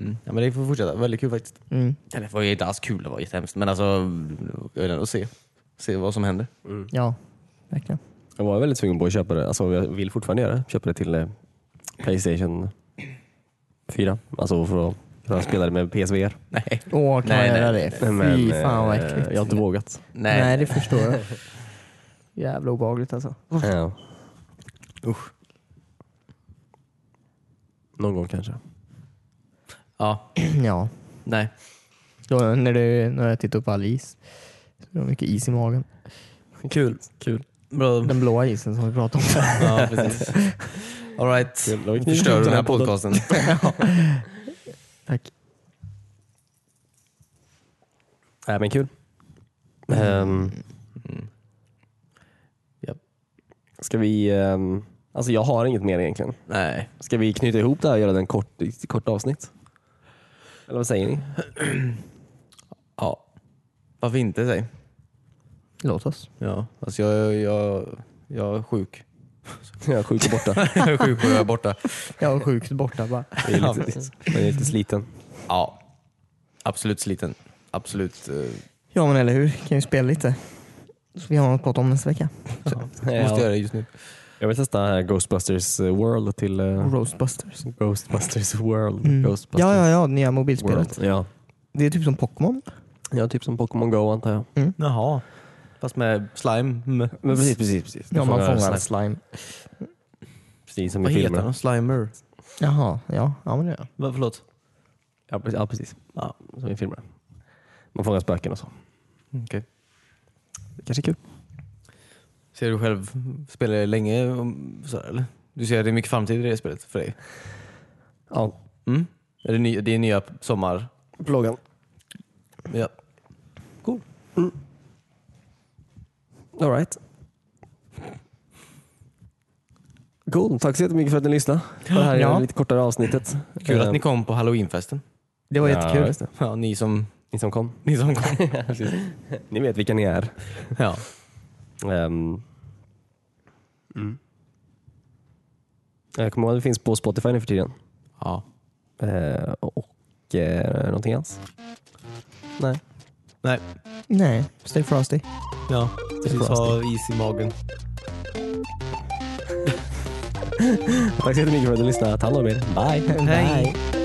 Speaker 3: Mm. Ja, men det får fortsätta. Väldigt kul faktiskt.
Speaker 1: Mm.
Speaker 3: Ja, Det var ju inte alls kul, det var jättehemskt. Men alltså, jag vill ändå se, se vad som händer.
Speaker 1: ja, verkligen.
Speaker 2: Jag var väldigt sugen på att köpa det. Alltså, jag vill fortfarande göra det. Köpa det till eh, Playstation 4. Alltså för att kunna spela det med PSVR.
Speaker 3: Nej.
Speaker 1: Åh, kan
Speaker 3: Nej,
Speaker 1: man göra
Speaker 3: nej.
Speaker 1: det? Fy
Speaker 2: eh,
Speaker 1: fan vad äckligt.
Speaker 2: Jag har inte vågat.
Speaker 1: Nej. det förstår jag. Jävla obehagligt alltså.
Speaker 2: Ja. Usch. Någon gång kanske.
Speaker 3: Ja,
Speaker 1: ja,
Speaker 3: nej.
Speaker 1: då, när, det, när jag tittar på Alice så är det mycket is i magen.
Speaker 2: Kul. Kul.
Speaker 3: Bra.
Speaker 1: Den blåa isen som vi pratade om.
Speaker 3: Ja, precis. All right.
Speaker 2: Kul. Då har vi
Speaker 3: Nu förstör du den här
Speaker 2: podden.
Speaker 3: podcasten.
Speaker 1: Tack.
Speaker 2: Nej men kul. Ehm, ja. Ska vi... ehm, alltså jag har inget mer egentligen.
Speaker 3: Nej.
Speaker 2: Ska vi knyta ihop det här och göra en kort, ett kort avsnitt? Eller vad säger ni?
Speaker 3: Ja. Varför inte, säg.
Speaker 1: Låt oss.
Speaker 3: Ja. Alltså, jag, jag, jag är sjuk.
Speaker 2: Jag är sjuk och borta.
Speaker 3: jag är sjuk och jag är borta.
Speaker 1: Jag var sjukt borta bara.
Speaker 2: Jag är lite, jag är lite sliten.
Speaker 3: Ja. Absolut sliten. Absolut. eh,
Speaker 1: Ja men eller hur, kan ju spela lite. Så vi har något att prata om nästa vecka.
Speaker 3: måste göra
Speaker 2: Jag,
Speaker 3: det just nu.
Speaker 2: jag vill testa här Ghostbusters World till... eh,
Speaker 1: Roastbusters.
Speaker 2: Ghostbusters World.
Speaker 1: Mm.
Speaker 2: Ghostbusters
Speaker 1: Ja, ja, ja, det nya
Speaker 2: World.
Speaker 1: mobilspelet.
Speaker 2: Ja.
Speaker 1: Det är typ som Pokémon.
Speaker 2: ja, typ som Pokémon Go antar jag.
Speaker 3: Jaha. Fast med slime.
Speaker 2: Men precis, precis. precis.
Speaker 1: Ja, man fångar en slime.
Speaker 2: slime. Precis som
Speaker 3: Vad
Speaker 2: i
Speaker 3: heter
Speaker 2: filmerna.
Speaker 3: han? Slimer?
Speaker 1: Jaha, ja, ja men det gör
Speaker 3: Vad- Förlåt?
Speaker 2: Ja, precis. Ja, precis. Ja, som i filmerna. Man fångar spöken och så.
Speaker 3: Okej.
Speaker 2: Det kanske är kul.
Speaker 3: Ser du själv spela det länge? om- Så här, eller? Du ser att det är mycket framtid i det spelet för dig?
Speaker 2: Ja,
Speaker 3: Mm. Är det, ny, det är nya sommar...
Speaker 2: plågan.
Speaker 3: Ja. Cool.
Speaker 2: All right. Cool. Tack så jättemycket för att ni lyssnade på det här
Speaker 1: Ja.
Speaker 2: lite kortare avsnittet.
Speaker 3: Kul
Speaker 2: Eh,
Speaker 3: att ni kom på halloweenfesten.
Speaker 1: Det var jättekul.
Speaker 2: just det.
Speaker 3: Ja, ni som,
Speaker 2: Ni som kom.
Speaker 3: ni som kom.
Speaker 2: Ni vet vilka ni är.
Speaker 3: ja.
Speaker 2: Ehm. Jag kommer ihåg att det finns på Spotify nu för tiden.
Speaker 3: ja.
Speaker 2: Eh, och eh, någonting annat. Nej.
Speaker 3: Nej,
Speaker 1: Nej, stay frosty.
Speaker 3: ja. Precis, ha is i magen.
Speaker 2: Tá Tack så jättemycket för att ni lyssnade. Ta hand om er. Bye.
Speaker 1: Bye.